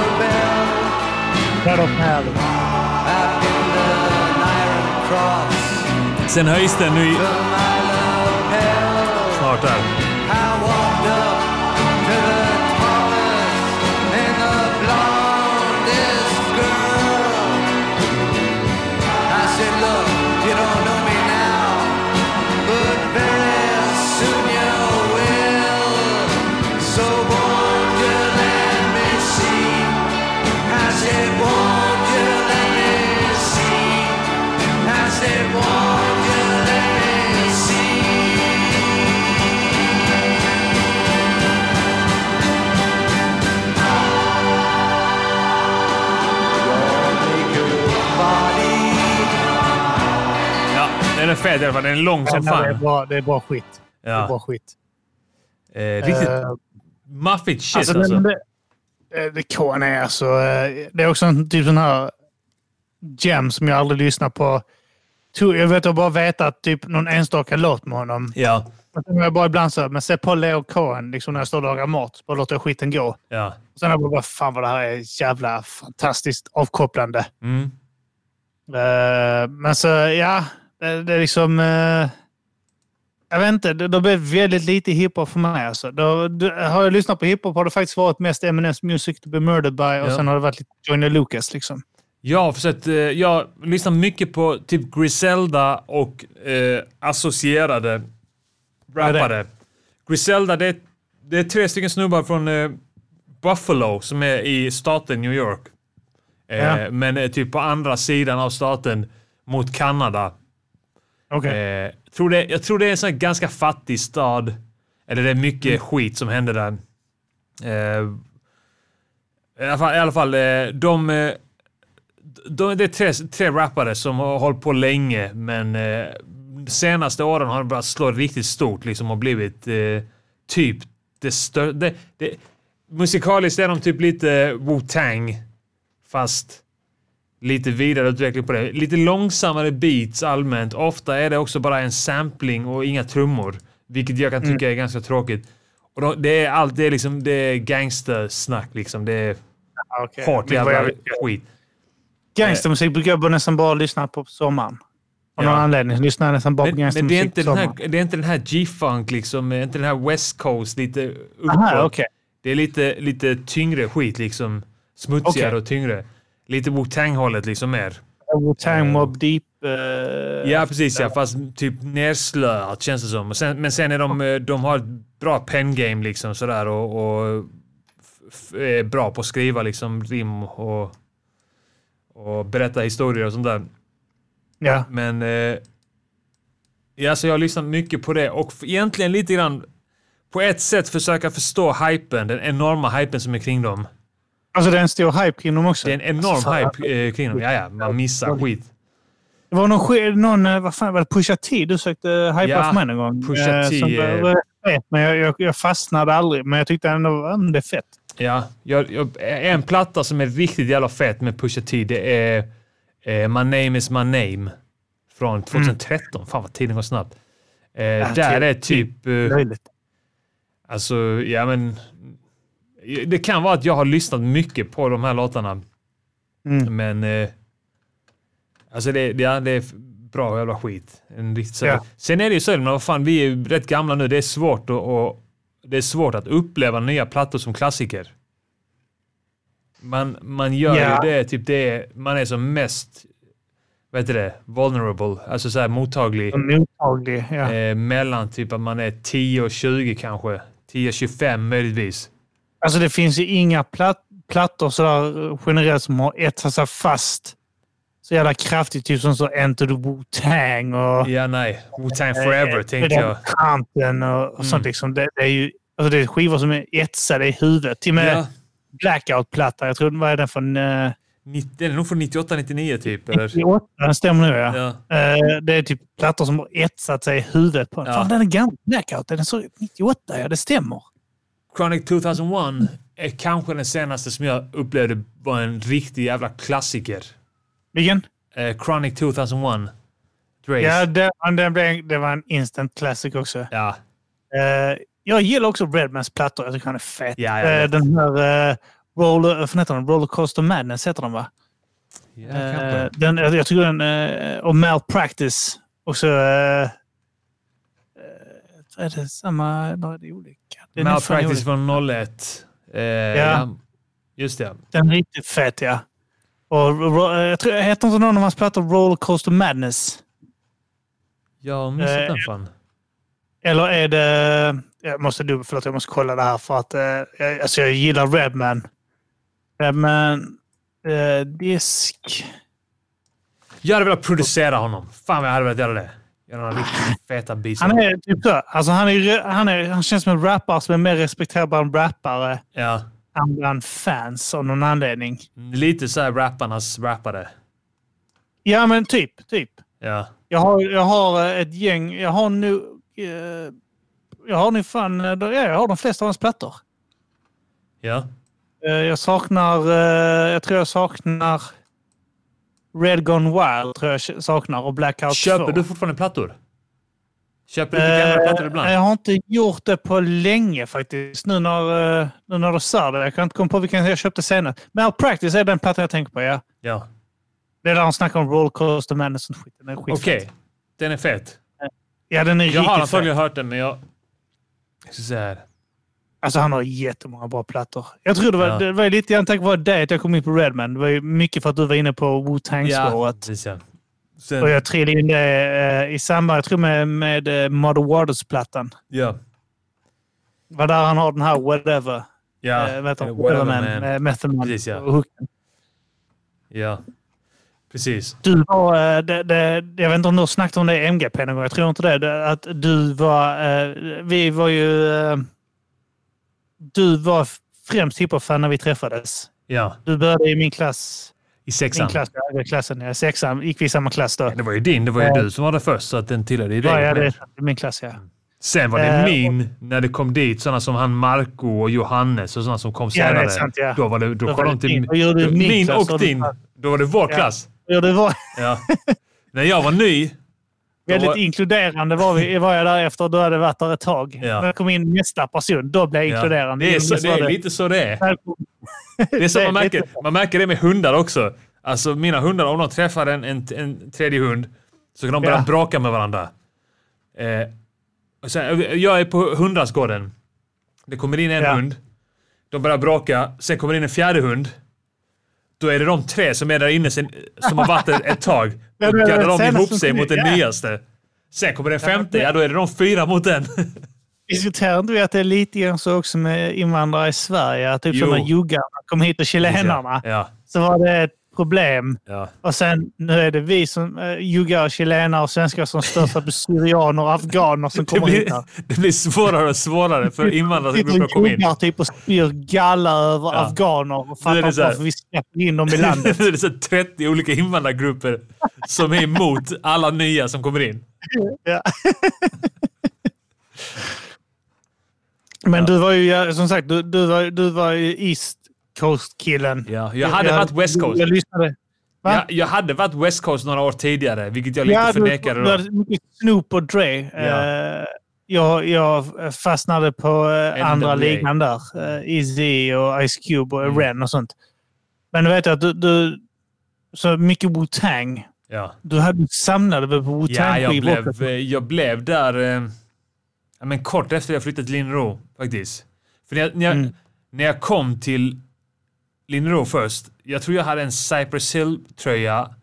B: Där då, här.
H: out in the Iron Cross.
A: Sen höjs den nu i...
H: My love held,
A: Snart där.
H: I walked up to the tallest and the blondest girl. I said, look, you don't know me now, but very soon you will. So won't you let me see? I said, won't you let me see? I said, won't you let me see? Body.
A: Ja, den är fet i alla fall. Den är lång som
B: Ja, det, är
A: fan.
B: bra, det är bra skit. Det är bra
A: Ja.
B: skit.
A: Eh, riktigt
B: Eh,
A: maffigt shit
B: Alltså,
A: alltså.
B: men det, eh, det kan är alltså... eh, Det är också en typ sån här gem som jag aldrig lyssnar på. Tror- Jag vet jag bara vetat typ någon enstaka låt med honom.
A: Ja,
B: Och sen har jag bara ibland så här, men se på Leo Cohen liksom när jag står och lagar mat. så Bara låter jag skiten gå.
A: ja.
B: Och sen har jag bara, fan vad det här är jävla fantastiskt avkopplande.
A: Mm.
B: Eh, men så, ja. Det, det är liksom... eh, jag vet inte, det, det blev väldigt lite hiphop för mig. Alltså. Då, då, har jag lyssnat på hiphop har det faktiskt varit mest Eminems Music to be murdered by och
A: Ja.
B: sen har det varit lite Johnny Lucas. Liksom.
A: Jag har försökt, eh, jag lyssnar mycket på typ Griselda och eh, associerade rappare. Griselda, det är, det är tre stycken snubbar från eh, Buffalo som är i staten New York. Eh,
B: Ja.
A: Men eh, typ på andra sidan av staten mot Kanada.
B: Okej.
A: Eh, tror det, jag tror det är en sån här ganska fattig stad. Eller det är mycket skit som hände där. Eh, I alla fall, i alla fall eh, de, eh, de... Det är tre, tre rappare som har hållit på länge, men eh, de senaste åren har de börjat slå riktigt stort liksom och blivit eh, typ det största... Det, det, musikaliskt är de typ lite Wu-Tang, fast lite vidare utveckling på det. Lite långsammare beats allmänt. Ofta är det också bara en sampling och inga trummor, vilket jag kan
B: Mm.
A: tycka är ganska tråkigt. Och då, det är allt, det är liksom, det är gangstersnack liksom. Det är
B: ah, Okej.
A: hårt
B: Det är vad jag
A: jävla
B: vill.
A: skit.
B: Gangstermusik brukar jag bara nästan bara lyssna på på sommaren. Av
A: Ja.
B: någon anledning lyssnar jag nästan bara
A: Men,
B: på
A: men det, är
B: gangstermusik
A: inte den
B: på sommaren.
A: här, det är inte den här G-funk liksom, eh, inte den här West Coast, lite uppåt.
B: Aha, okej.
A: Det är lite, lite tyngre skit liksom. Smutsigare
B: Okej.
A: och tyngre. Lite Wu-Tang-hållet liksom mer.
B: Wu-Tang, Mobb Deep. eh,
A: Ja, precis. Ja, fast typ nerslöat känns det som. Och sen, men sen är de, eh, de har ett bra pen game liksom sådär och, och f- f- är bra på att skriva liksom rim och, och berätta historier och sånt där.
B: ja.
A: Men eh, ja, så jag har lyssnat mycket på det och f- egentligen lite grann på ett sätt försöka förstå hypen, den enorma hypen som är kring dem.
B: Alltså det är en stor hype kring dem också.
A: Det är en enorm
B: Alltså, fan,
A: hype eh, kring dem. Ja, ja, man missar skit.
B: Det var någon, ske- någon eh, vad fan var det, Pusha T du sökte hypa
A: Ja,
B: för mig någon gång.
A: Pusha
B: Eh,
A: T,
B: som-
A: eh.
B: var fett, Men jag, jag, jag fastnade aldrig, men jag tyckte ändå att det är fett.
A: Ja, jag, jag, en platta som är riktigt jävla fet med Pusha T, det är eh, My Name Is My Name från 2013. Fan vad tiden går snabbt. Eh, där
B: Mm. till-
A: är typ... Eh,
B: Löjligt.
A: Alltså, ja men... Det kan vara att jag har lyssnat mycket på de här låtarna.
B: Mm.
A: Men... Eh, alltså det, det- ja, det är f- bra jävla skit. En riktigt så-
B: Ja.
A: Sen är det ju så, men vad fan, vi är ju rätt gamla nu. Det är svårt att, och, det är svårt att uppleva nya plattor som klassiker. Man, man gör
B: Ja.
A: ju det, typ det är, man är som mest, vad heter det, vulnerable, alltså så här mottaglig.
B: Och Mottaglig. Ja.
A: Eh, mellan typ att man är 10 och 20 kanske. 10 och 25 möjligtvis.
B: Alltså det finns ju inga platt, plattor sådär eh, generellt som har etsat sig fast så jävla kraftigt. Typ som så Enter the Wu-Tang och...
A: Ja, nej. Wu-Tang Forever
B: Eh,
A: tänkte
B: det
A: jag. Mm.
B: där Kanten och, och sånt. Liksom. Det, det är ju alltså det är skivor som är etsade i huvudet. Till och med
A: Ja.
B: Blackout-platta. Jag tror den var den från eh,
A: 90, den är nog från 98-99 typ, eller?
B: 98. Den stämmer nu, ja.
A: Ja.
B: Eh, det är typ plattor som har etsat sig i huvudet på en.
A: Ja.
B: Fan, den är gammal. Blackout. Den är så 98, ja. Det stämmer.
A: Chronic 2001 är kanske den senaste som jag upplevde var en riktig jävla klassiker.
B: Vilken?
A: Eh, Chronic 2001. Drace.
B: Ja,
A: Ja.
B: det, den blev, det var en instant classic också.
A: Ja.
B: Eh, jag gillar också Redmans plattor. Jag tycker han är fet.
A: Ja, jag
B: Eh,
A: vet.
B: den här eh, Roller, vad fan heter den? Rollercoaster Madness heter den va?
A: kanske.
B: Eh, den, jag jag tycker den... eh, Och Malpractice. Och så... eh, eh, är det samma? Eller är det olika? Den är fan
A: Malpractice
B: olika.
A: från 01. Eh, ja. Just det.
B: Den är riktigt fet, ja. Och, ro- eh, jag tror, heter inte någon av hans plattor Rollercoaster Madness?
A: Jag har missat
B: Eh,
A: den fan.
B: Eller är det... Jag måste, dubbel- förlåt, jag måste kolla det här för att eh, jag, alltså jag gillar Redman. Redman... Eh, disk...
A: Jag hade velat producera honom. Fan vad jag hade velat göra det. Göra några riktigt feta beats.
B: Ah. Han är typ så. Alltså han, är, han, är, han känns som en rappare som är mer respekterad bland rappare
A: Ja.
B: än bland fans av någon anledning.
A: Lite så här rapparnas rappare.
B: Ja, men typ. typ.
A: Ja.
B: Jag har, jag har eh, ett gäng. Jag har nu... Eh, jag har nu fan... eh, Ja, jag har de flesta av hans plattor.
A: Ja.
B: Eh, jag saknar... Eh, jag tror jag saknar... Red Gone Wild tror jag saknar och Blackout 2.
A: Köper du fortfarande plattor? Köper du
B: Eh,
A: gamla plattor ibland?
B: Jag har inte gjort det på länge faktiskt. Nu när, eh, nu när du sa det. Jag kan inte komma på vilken jag köpte senast. Men Practice är den plattan jag tänker på, ja.
A: Ja.
B: Det är där han snackar om Rollercoaster Man och sånt skit. Den är skitfet.
A: Okej. Den är fet.
B: Ja, den är
A: Jag har
B: riktigt fet.
A: antagligen hört den, men jag... jag ska se här.
B: Alltså han har jättemånga bra plattor. Jag tror det var,
A: Ja.
B: det var lite grann tack vare dig att jag kom in på Redman. Det var ju mycket för att du var inne på Wu-Tang-spåret.
A: precis ja.
B: Och
A: Sen,
B: jag trillade in det eh, i samband, jag tror med, med eh, Muddy Waters-plattan.
A: ja.
B: Det var där han har den här Whatever.
A: Ja.
B: Eh, vad heter den?
A: Whatever,
B: Whatever Man.
A: man.
B: eh, Method Man.
A: Precis, ja.
B: och hooken.
A: Ja, precis.
B: Du var, eh, det, det, jag vet inte om du har snackat om det i MGP någon gång, jag tror inte det. det. Att du var, eh, vi var ju... eh, Du var främst hiphop-fan när vi träffades.
A: Ja,
B: Du började i min klass.
A: i
B: Min
A: sexan.
B: klass, ja, klassen, ja, sexan. Gick vi i samma klass då?
A: Det var ju din, det var ju
B: Ja.
A: du som var där först, så att den tillhörde ju dig.
B: Eh. Ja, ja, det är min klass, ja.
A: Mm. Sen var det
B: Eh,
A: min, när det kom dit sådana som han Marco och Johannes och sådana som kom
B: Ja, det är
A: senare.
B: sant, ja.
A: Då var det, då
B: Då
A: kom
B: var
A: de
B: det
A: till
B: din. Då gjorde
A: då-
B: du min
A: min
B: klass, då
A: och
B: var det
A: din.
B: fan.
A: Då var det vår
B: Ja.
A: klass.
B: Ja, det var
A: Ja. när jag var
B: (laughs)
A: ny,
B: väldigt
A: var-
B: inkluderande var, vi, var jag därefter. Då hade jag varit där ett tag.
A: Ja.
B: När jag kom in nästa person, då blev jag
A: ja.
B: inkluderande.
A: det, är
B: Ingen
A: så, det
B: sa
A: är lite så det är.
B: Välkommen.
A: Det är så
B: Det är
A: man märker.
B: lite
A: Man märker det med hundar också. Alltså mina hundar, om de träffar en, en, en tredje hund så kan de börja
B: Ja.
A: bråka med varandra. Eh, och sen, jag är på hundrasgården. Det kommer in en
B: Ja.
A: hund. De börjar bråka. Sen kommer in en fjärde hund. Då är det de tre som är där inne sen, som har varit där ett tag. Då
B: (laughs) Ja, det är det
A: gaddar de
B: senaste
A: ihop
B: som
A: sig
B: kom
A: mot
B: in,
A: den
B: ja.
A: nyaste. Sen kommer den femte. Ja, då är det de fyra mot den.
B: Diskuterar inte vi att det är lite grann så också med invandrare i Sverige? Att typ
A: Jo.
B: som när juggarna kom hit och chilenarna
A: (laughs) Ja,
B: så var det ett problem.
A: ja.
B: Och sen nu är det vi som eh, juggar, chilenare och svenskar som stöttar på syrianer och afghaner som
A: Det
B: kommer hit
A: blir,
B: här.
A: det blir svårare och svårare för invandrargrupper att komma in.
B: Juggar typ och spyr galla över
A: Ja.
B: afghaner och fattar
A: det
B: inte
A: så här.
B: varför vi släpper in dem
A: (laughs)
B: i landet.
A: det är så 30 olika invandrargrupper som är emot alla nya som kommer in.
B: Ja. Men du var ju, som sagt, du, du, var, du var ju East Coast-killen.
A: Ja, jag hade varit West Coast.
B: Jag lyssnade. Va?
A: Jag, jag hade varit West Coast några år tidigare, vilket jag lite
B: Ja, du-
A: förnekade
B: du
A: då.
B: hade mycket Snoop och Dre.
A: Ja.
B: Eh, jag, jag fastnade på eh, andra
A: NWA.
B: ligan där. Uh, Easy och Ice Cube och
A: Mm.
B: Ren och sånt. Men du vet att du... du så mycket Wu-Tang.
A: Ja.
B: Du hade samlade väl på
A: Ja, jag
B: Wu-Tang-skivor också?
A: blev, eh, jag blev där eh, ja, men kort efter jag flyttade till Linro faktiskt. För när jag, när jag,
B: Mm.
A: när jag kom till Linro först, jag tror jag hade en Cypress Hill-tröja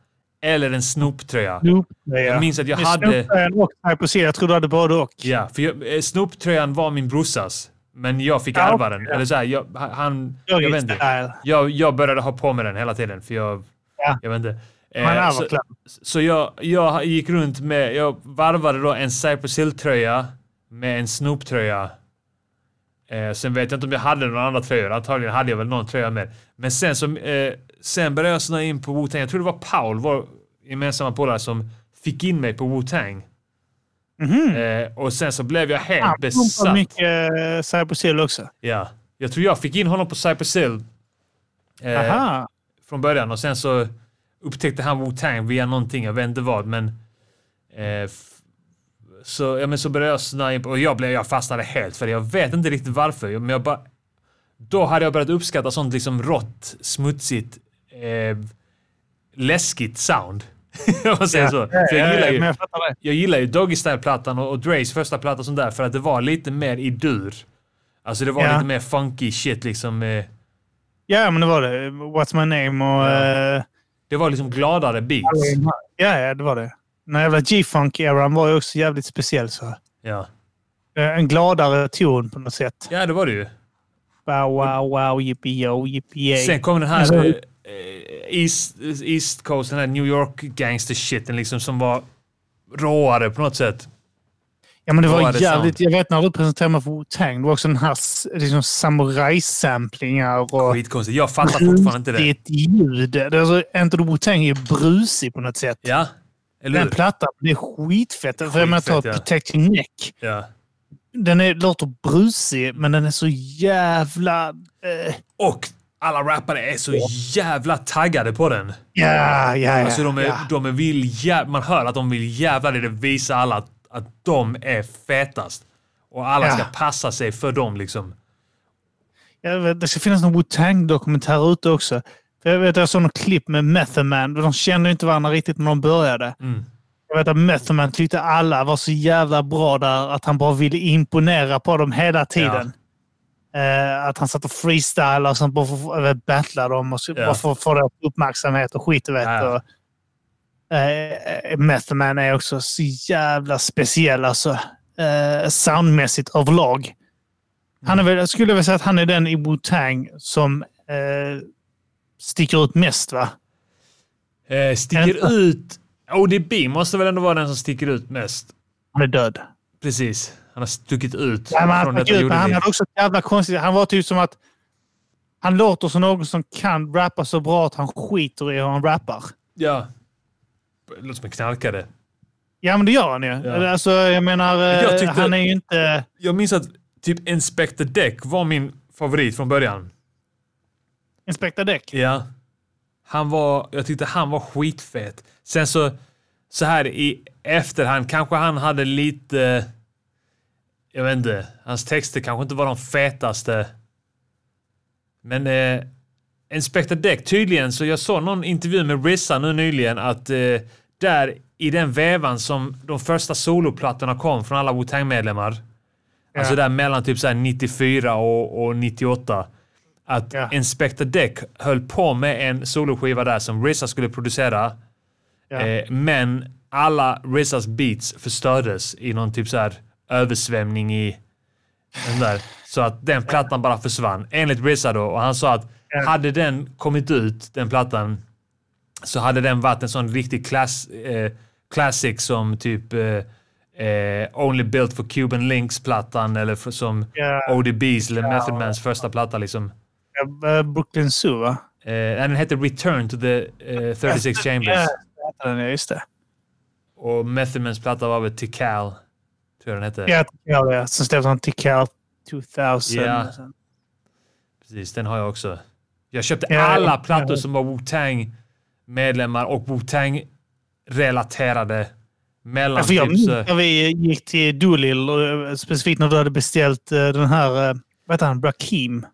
A: eller en Snoop-tröja.
B: Snoop, ja.
A: Jag minns att jag hade...
B: Snoop och Cypress Hill. Jag tror du hade både och.
A: Ja, för jag, eh, Snoop-tröjan var min brorsas. Men jag fick
B: Ja,
A: ärva den.
B: okej, ja.
A: Eller så här, jag, han- han, jag,
B: Jag
A: vet inte.
B: gissar.
A: Jag, jag började ha på mig den hela tiden, för jag...
B: Ja.
A: Jag vet inte. Eh,
B: Man är
A: så
B: överklädd.
A: så jag, jag gick runt med... Jag varvade då en Cypress Hill-tröja med en Snoop-tröja. Eh, sen vet jag inte om jag hade några andra tröjor. Antagligen hade jag väl någon tröja med. Men sen, som, eh, sen började jag snöa in på Wu-Tang. Jag tror det var Paul, vår gemensamma polare, som fick in mig på Wu-Tang.
B: Mhm.
A: Eh, och sen så blev jag helt
B: Han pumpar
A: besatt.
B: mycket eh, Cypress Hill också.
A: Ja. Jag tror jag fick in honom på Cypress Hill eh,
B: Aha.
A: från början och sen så upptäckte han Wu-Tang via någonting, jag vet inte vad. Men, eh, f- så, ja, men så började jag snöa in på, och jag, blev, jag fastnade helt för det. Jag vet inte riktigt varför. Men jag bara, då hade jag börjat uppskatta sånt liksom rått, smutsigt, eh, läskigt sound. (laughs) Om man säger så. För jag gillar
B: Eh,
A: ju,
B: Men jag fattar det.
A: jag gillar ju Doggy Style-plattan och, och Dres första platta och sånt där för att det var lite mer i dur. Alltså det var
B: Ja.
A: lite mer funky shit liksom. eh,
B: Ja, men det var det. What's my name och... eh,
A: Det var liksom gladare beats.
B: Ja, ja, det var det. Den här jävla G-funk-eran var ju också jävligt speciell. Så. Eh,
A: Ja,
B: En gladare ton på något sätt.
A: ja det var det ju.
B: Wow, wow, wow, yippee yo, yippee
A: Sen kom den här
B: Alltså-
A: eh, eh, East, East Coast, den här New York gangster-shiten liksom som var råare på något sätt.
B: Ja, men det
A: Vad
B: var
A: är det
B: jävligt... Jag vet när du presenterade mig för Wu-Tang, det var också den här s- liksom, samurajsamplingar och...
A: Skitkonstigt. Jag fattar fortfarande inte det.
B: Brusigt ljud. Det är alltså, Enter the Wu-Tang är ju brusig på något sätt.
A: Ja, eller
B: Den
A: hur?
B: plattan det är skitfett. För jag menar, ta
A: Skitfett, ja.
B: Protect Your Neck.
A: Ja.
B: Den är, låter brusig, men den är så jävla... eh,
A: Och alla rappare är så jävla taggade på den.
B: ja, ja, ja.
A: Alltså de, är,
B: ja.
A: de är vill jä- man hör att de vill jävlar i det visa alla att, att de är fetast. Och alla
B: Ja.
A: ska passa sig för dem liksom.
B: Jag vet, det ska finnas någon Wu-Tang-dokumentär ute också. För jag vet, jag såg något klipp med Method Man. De kände ju inte varandra riktigt när de började. Jag vet att Method Man tyckte alla var så jävla bra där att han bara ville imponera på dem hela tiden. Eh, att han satt och freestylade och sen bara för, för, vet, battla dem och så,
A: Ja.
B: bara för att få deras uppmärksamhet och skit. du Vet,
A: Ja.
B: och, eh, Method Man är också så jävla speciell alltså. Eh, soundmässigt överlag. Han är
A: Mm.
B: väl, jag skulle väl säga att han är den i Wu-Tang som eh, sticker ut mest va?
A: Eh, sticker
B: Ensam.
A: ut... ODB måste väl ändå vara den som sticker ut mest.
B: Han är död.
A: Precis. Han har stuckit ut
B: Ja, men han,
A: från
B: stack
A: detta
B: ut, men han
A: jordeliv.
B: hade också ett jävla konstigt... Han var typ som att... Han låter som någon som kan rappa så bra att han skiter i hur han rappar.
A: Ja. Det låter som en knarkare.
B: Ja, men det gör han ju.
A: Ja.
B: Alltså, jag menar,
A: jag
B: eh,
A: tyckte-
B: han är ju inte...
A: Jag minns att typ Inspector Deck var min favorit från början.
B: Inspekta däck.
A: Ja. Han var, jag tyckte han var skitfet. Sen så, så här i efterhand, kanske han hade lite... Jag vet inte. Hans texter kanske inte var de fetaste. Men eh, Inspector Deck, tydligen, så jag såg någon intervju med Rissa nu nyligen att eh, där i den vävan som de första soloplattorna kom från alla Wu-Tang-medlemmar. Alltså där mellan typ så här 94 och, och 98. Att
B: Ja.
A: Inspector Deck höll på med en soloskiva där som RZA skulle producera.
B: Ja.
A: Eh, men alla RZAs beats förstördes i någon typ så här översvämning i den där. Så att den plattan bara försvann. Enligt RZA då. Och han sa att hade den kommit ut, den plattan, så hade den varit en sån riktig klass, eh, classic som typ eh, eh, Only Built for Cuban Links-plattan eller för, som
B: Ja.
A: ODB's eller Method Mans första platta. Liksom.
B: Eh, Brooklyn Zoo, va?
A: Eh, nej, den hette Return to the
B: (laughs)
A: eh, 36 Chambers.
B: Ja, det heter den, ja, just det.
A: Och Method Mans platta var väl Tikal, tror jag den hette.
B: Ja, ja, ja. Sen släppte han Tikal 2000.
A: Ja. Precis, den har jag också. Jag köpte
B: Ja,
A: alla
B: ja.
A: plattor som var Wu-Tang medlemmar och Wu-Tang relaterade mellan
B: Ja, för jag
A: typ
B: minns
A: så-
B: när vi gick till Doolittle, eh, specifikt när du hade beställt eh, den här, eh, vad heter han, Rakim.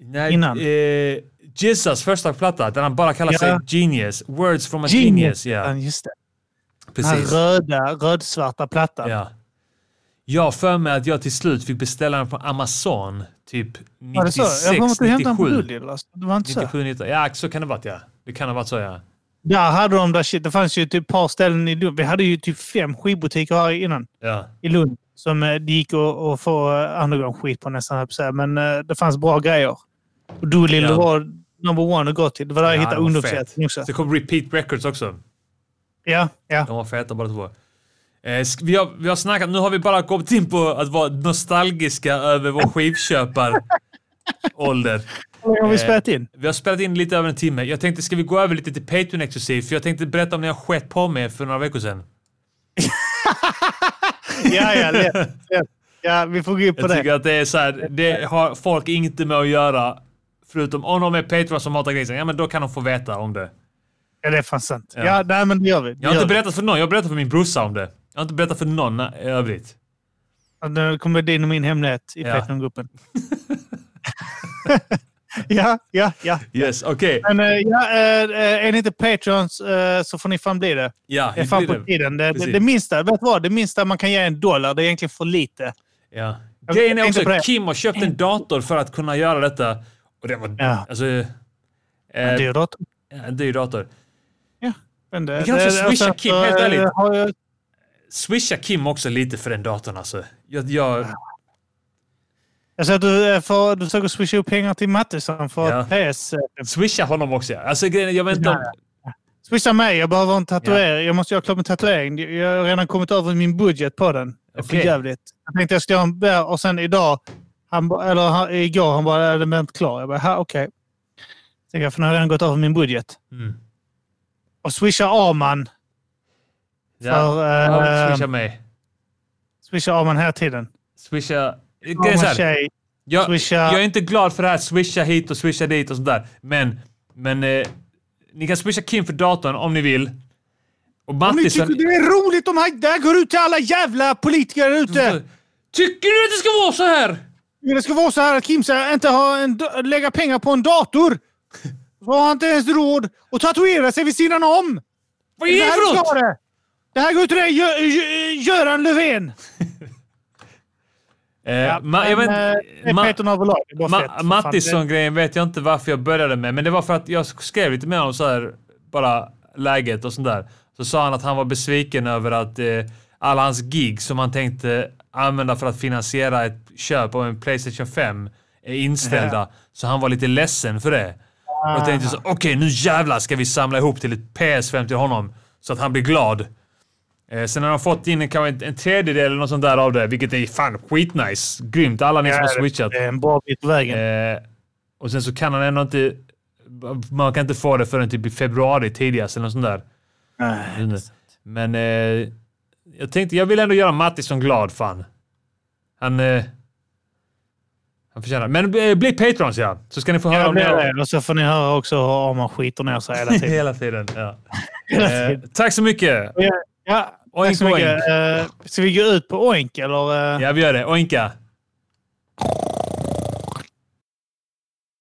A: Nej,
B: Innan.
A: Eh, Jesus första platta, där han bara kallar
B: Ja.
A: sig Genius. Words from a Genius.
B: Ja,
A: Ja,
B: just det. Den här
A: precis.
B: röda, rödsvarta plattan.
A: Ja. Jag har för mig att jag till slut fick beställa den på Amazon typ
B: Var det så?
A: 96,
B: Jag kommer inte hämta den på
A: 97.
B: Doolittle. Alltså. Det var inte så.
A: 97, 97, ja, så kan det ha varit ja. Det kan ha varit så ja.
B: Där hade de där shit. Det fanns ju typ ett par ställen i Lund. Vi hade ju typ fem skivbutiker här innan
A: ja.
B: i Lund som eh, det gick att, att få eh, underground-skit på nästan, höll jag på att säga. Men eh, det fanns bra grejer. Och Doolittle
A: Ja.
B: var number one att gå till. Det var där jag
A: Ja,
B: hittade
A: de var fet.
B: ungdomsrätten också.
A: Så kom Repeat Records också.
B: Ja, ja.
A: De var feta båda två. Eh, sk- vi, har, vi har snackat, nu har vi bara kommit in på att vara nostalgiska över
B: (laughs)
A: vår skivköparålder.
B: Hur länge har vi
A: (laughs)
B: spelat in?
A: Vi har spelat in lite över en timme. Jag tänkte, ska vi gå över lite till Patreon exklusivt? För jag tänkte berätta om när jag skett på mig för några veckor sedan.
B: Ja, ja, lätt, lätt. ja, vi får gå in på
A: Jag
B: det.
A: tycker att det är så här, det har folk inte med att göra. Förutom om de är Patreon som hatar grisen, ja men då kan de få veta om det.
B: Ja, det är fan sant.
A: Ja.
B: Ja, nej, men det gör vi. Det
A: Jag har
B: gör
A: inte
B: vi.
A: berättat för någon, jag har berättat för min brorsa om det. Jag har inte berättat för någon eh, övrigt.
B: Ja, Nu kommer din och min hemlighet i
A: Ja. (laughs)
B: Patreon-gruppen. (laughs) ja, ja, ja.
A: Yes, okej.
B: Men eh, ja, eh, eh, är ni inte Patreons eh, så får ni fan bli det.
A: Ja,
B: Det är
A: hur
B: fan
A: blir
B: på tiden. Det, det,
A: Precis.
B: det minsta, vet du vad? Det minsta man kan ge en dollar, det är egentligen för
A: Eh,
B: lite.
A: Ja.
B: Jag
A: Grejen är
B: tänkte
A: också
B: på det.
A: att Kim har köpt en dator för att kunna göra detta. Och det var...
B: Ja.
A: Alltså... Eh,
B: Det är rått.
A: en dyr dator.
B: Men det,
A: Vi kan också
B: det-
A: swisha
B: alltså,
A: Kim, helt
B: eh,
A: ärligt.
B: har jag-
A: Swisha Kim också lite för den datorn alltså. Jag, jag,
B: Jag ser att du, eh, får, du försöker swisha upp pengar till Mattisson för
A: Ja.
B: ett PS. eh,
A: swisha honom också. ja. Alltså grejen är, jag vet inte om...
B: Swisha mig, jag behöver en tatuering. Jag måste göra klart min tatuering. Jag har redan kommit över min budget på den. Det är för
A: Okej.
B: jävligt. Jag tänkte jag skulle göra en bär och sen idag, han, ba- eller han, igår, han bara "Äh, den är inte klar. Jag bara, "Ha, okej. Tänkte jag, för nu har jag redan gått över min budget.
A: Mm.
B: Och swisha Arman.
A: Ja.
B: För,
A: Ja,
B: eh,
A: swisha mig.
B: Swisha Arman hela tiden.
A: Swisha... Grejen är så
B: Arman
A: här.
B: tjej.
A: Jag,
B: Swisha.
A: jag är inte glad för det här swisha hit och swisha dit och sånt där. Men, men eh, ni kan swisha Kim för datorn om ni vill. Och Mattisson...
B: är roligt om han... Det här går ut till alla jävla politiker där
A: Mm.
B: ute.
A: Tycker du att det ska vara så här?
B: Det ska vara så här att Kim säger inte ha en, da- lägga pengar på en dator. Så har han inte ens råd att tatuera sig vid sidan om.
A: Vad är det
B: här
A: för
B: du ska
A: något?
B: ha det. Det här går ut till dig, Gö- Gö- Göran Löfven.
A: Eh, ma- jag vet,
B: eh,
A: ma-
B: Peter överlag. Det är bara fett,
A: ma-
B: för fan.
A: Mattisson-grejen vet jag inte varför jag började med, men det var för att jag skrev lite med honom så här, bara läget och sånt där. Så sa han att han var besviken över att eh, alla hans gig som han tänkte använda för att finansiera ett köp av en Playstation 5 är inställda. Så han var lite ledsen för det. Och tänkte så, okej nu jävlar ska vi samla ihop till ett PS5 till honom. Så att han blir glad. Eh, sen har han fått in en, kanske en, en tredjedel eller något sånt där av det, vilket är fan skitnice. Grymt, alla ni som har switchat.
B: Det är en bra bit på vägen.
A: Eh, och sen så kan han ändå inte... Man kan inte få det förrän typ i februari tidigast eller något sånt där. Nej. Men eh, jag tänkte, jag vill ändå göra Mattisson glad fan. Han... Eh, han förtjänar Men eh, bli patrons ja, så ska ni få höra
B: Ja,
A: om
B: det
A: det.
B: är det. Och så får ni höra också hur Arman skiter ner sig
A: (laughs) Hela
B: hela tiden.
A: tiden. Ja.
B: (laughs) Hela
A: Eh,
B: tiden.
A: tack så mycket.
B: Ja, ja, tack så
A: Oink,
B: mycket.
A: oink.
B: Eh, Ska vi gå ut på Oink eller? eh?
A: Ja, vi gör det. Oinka.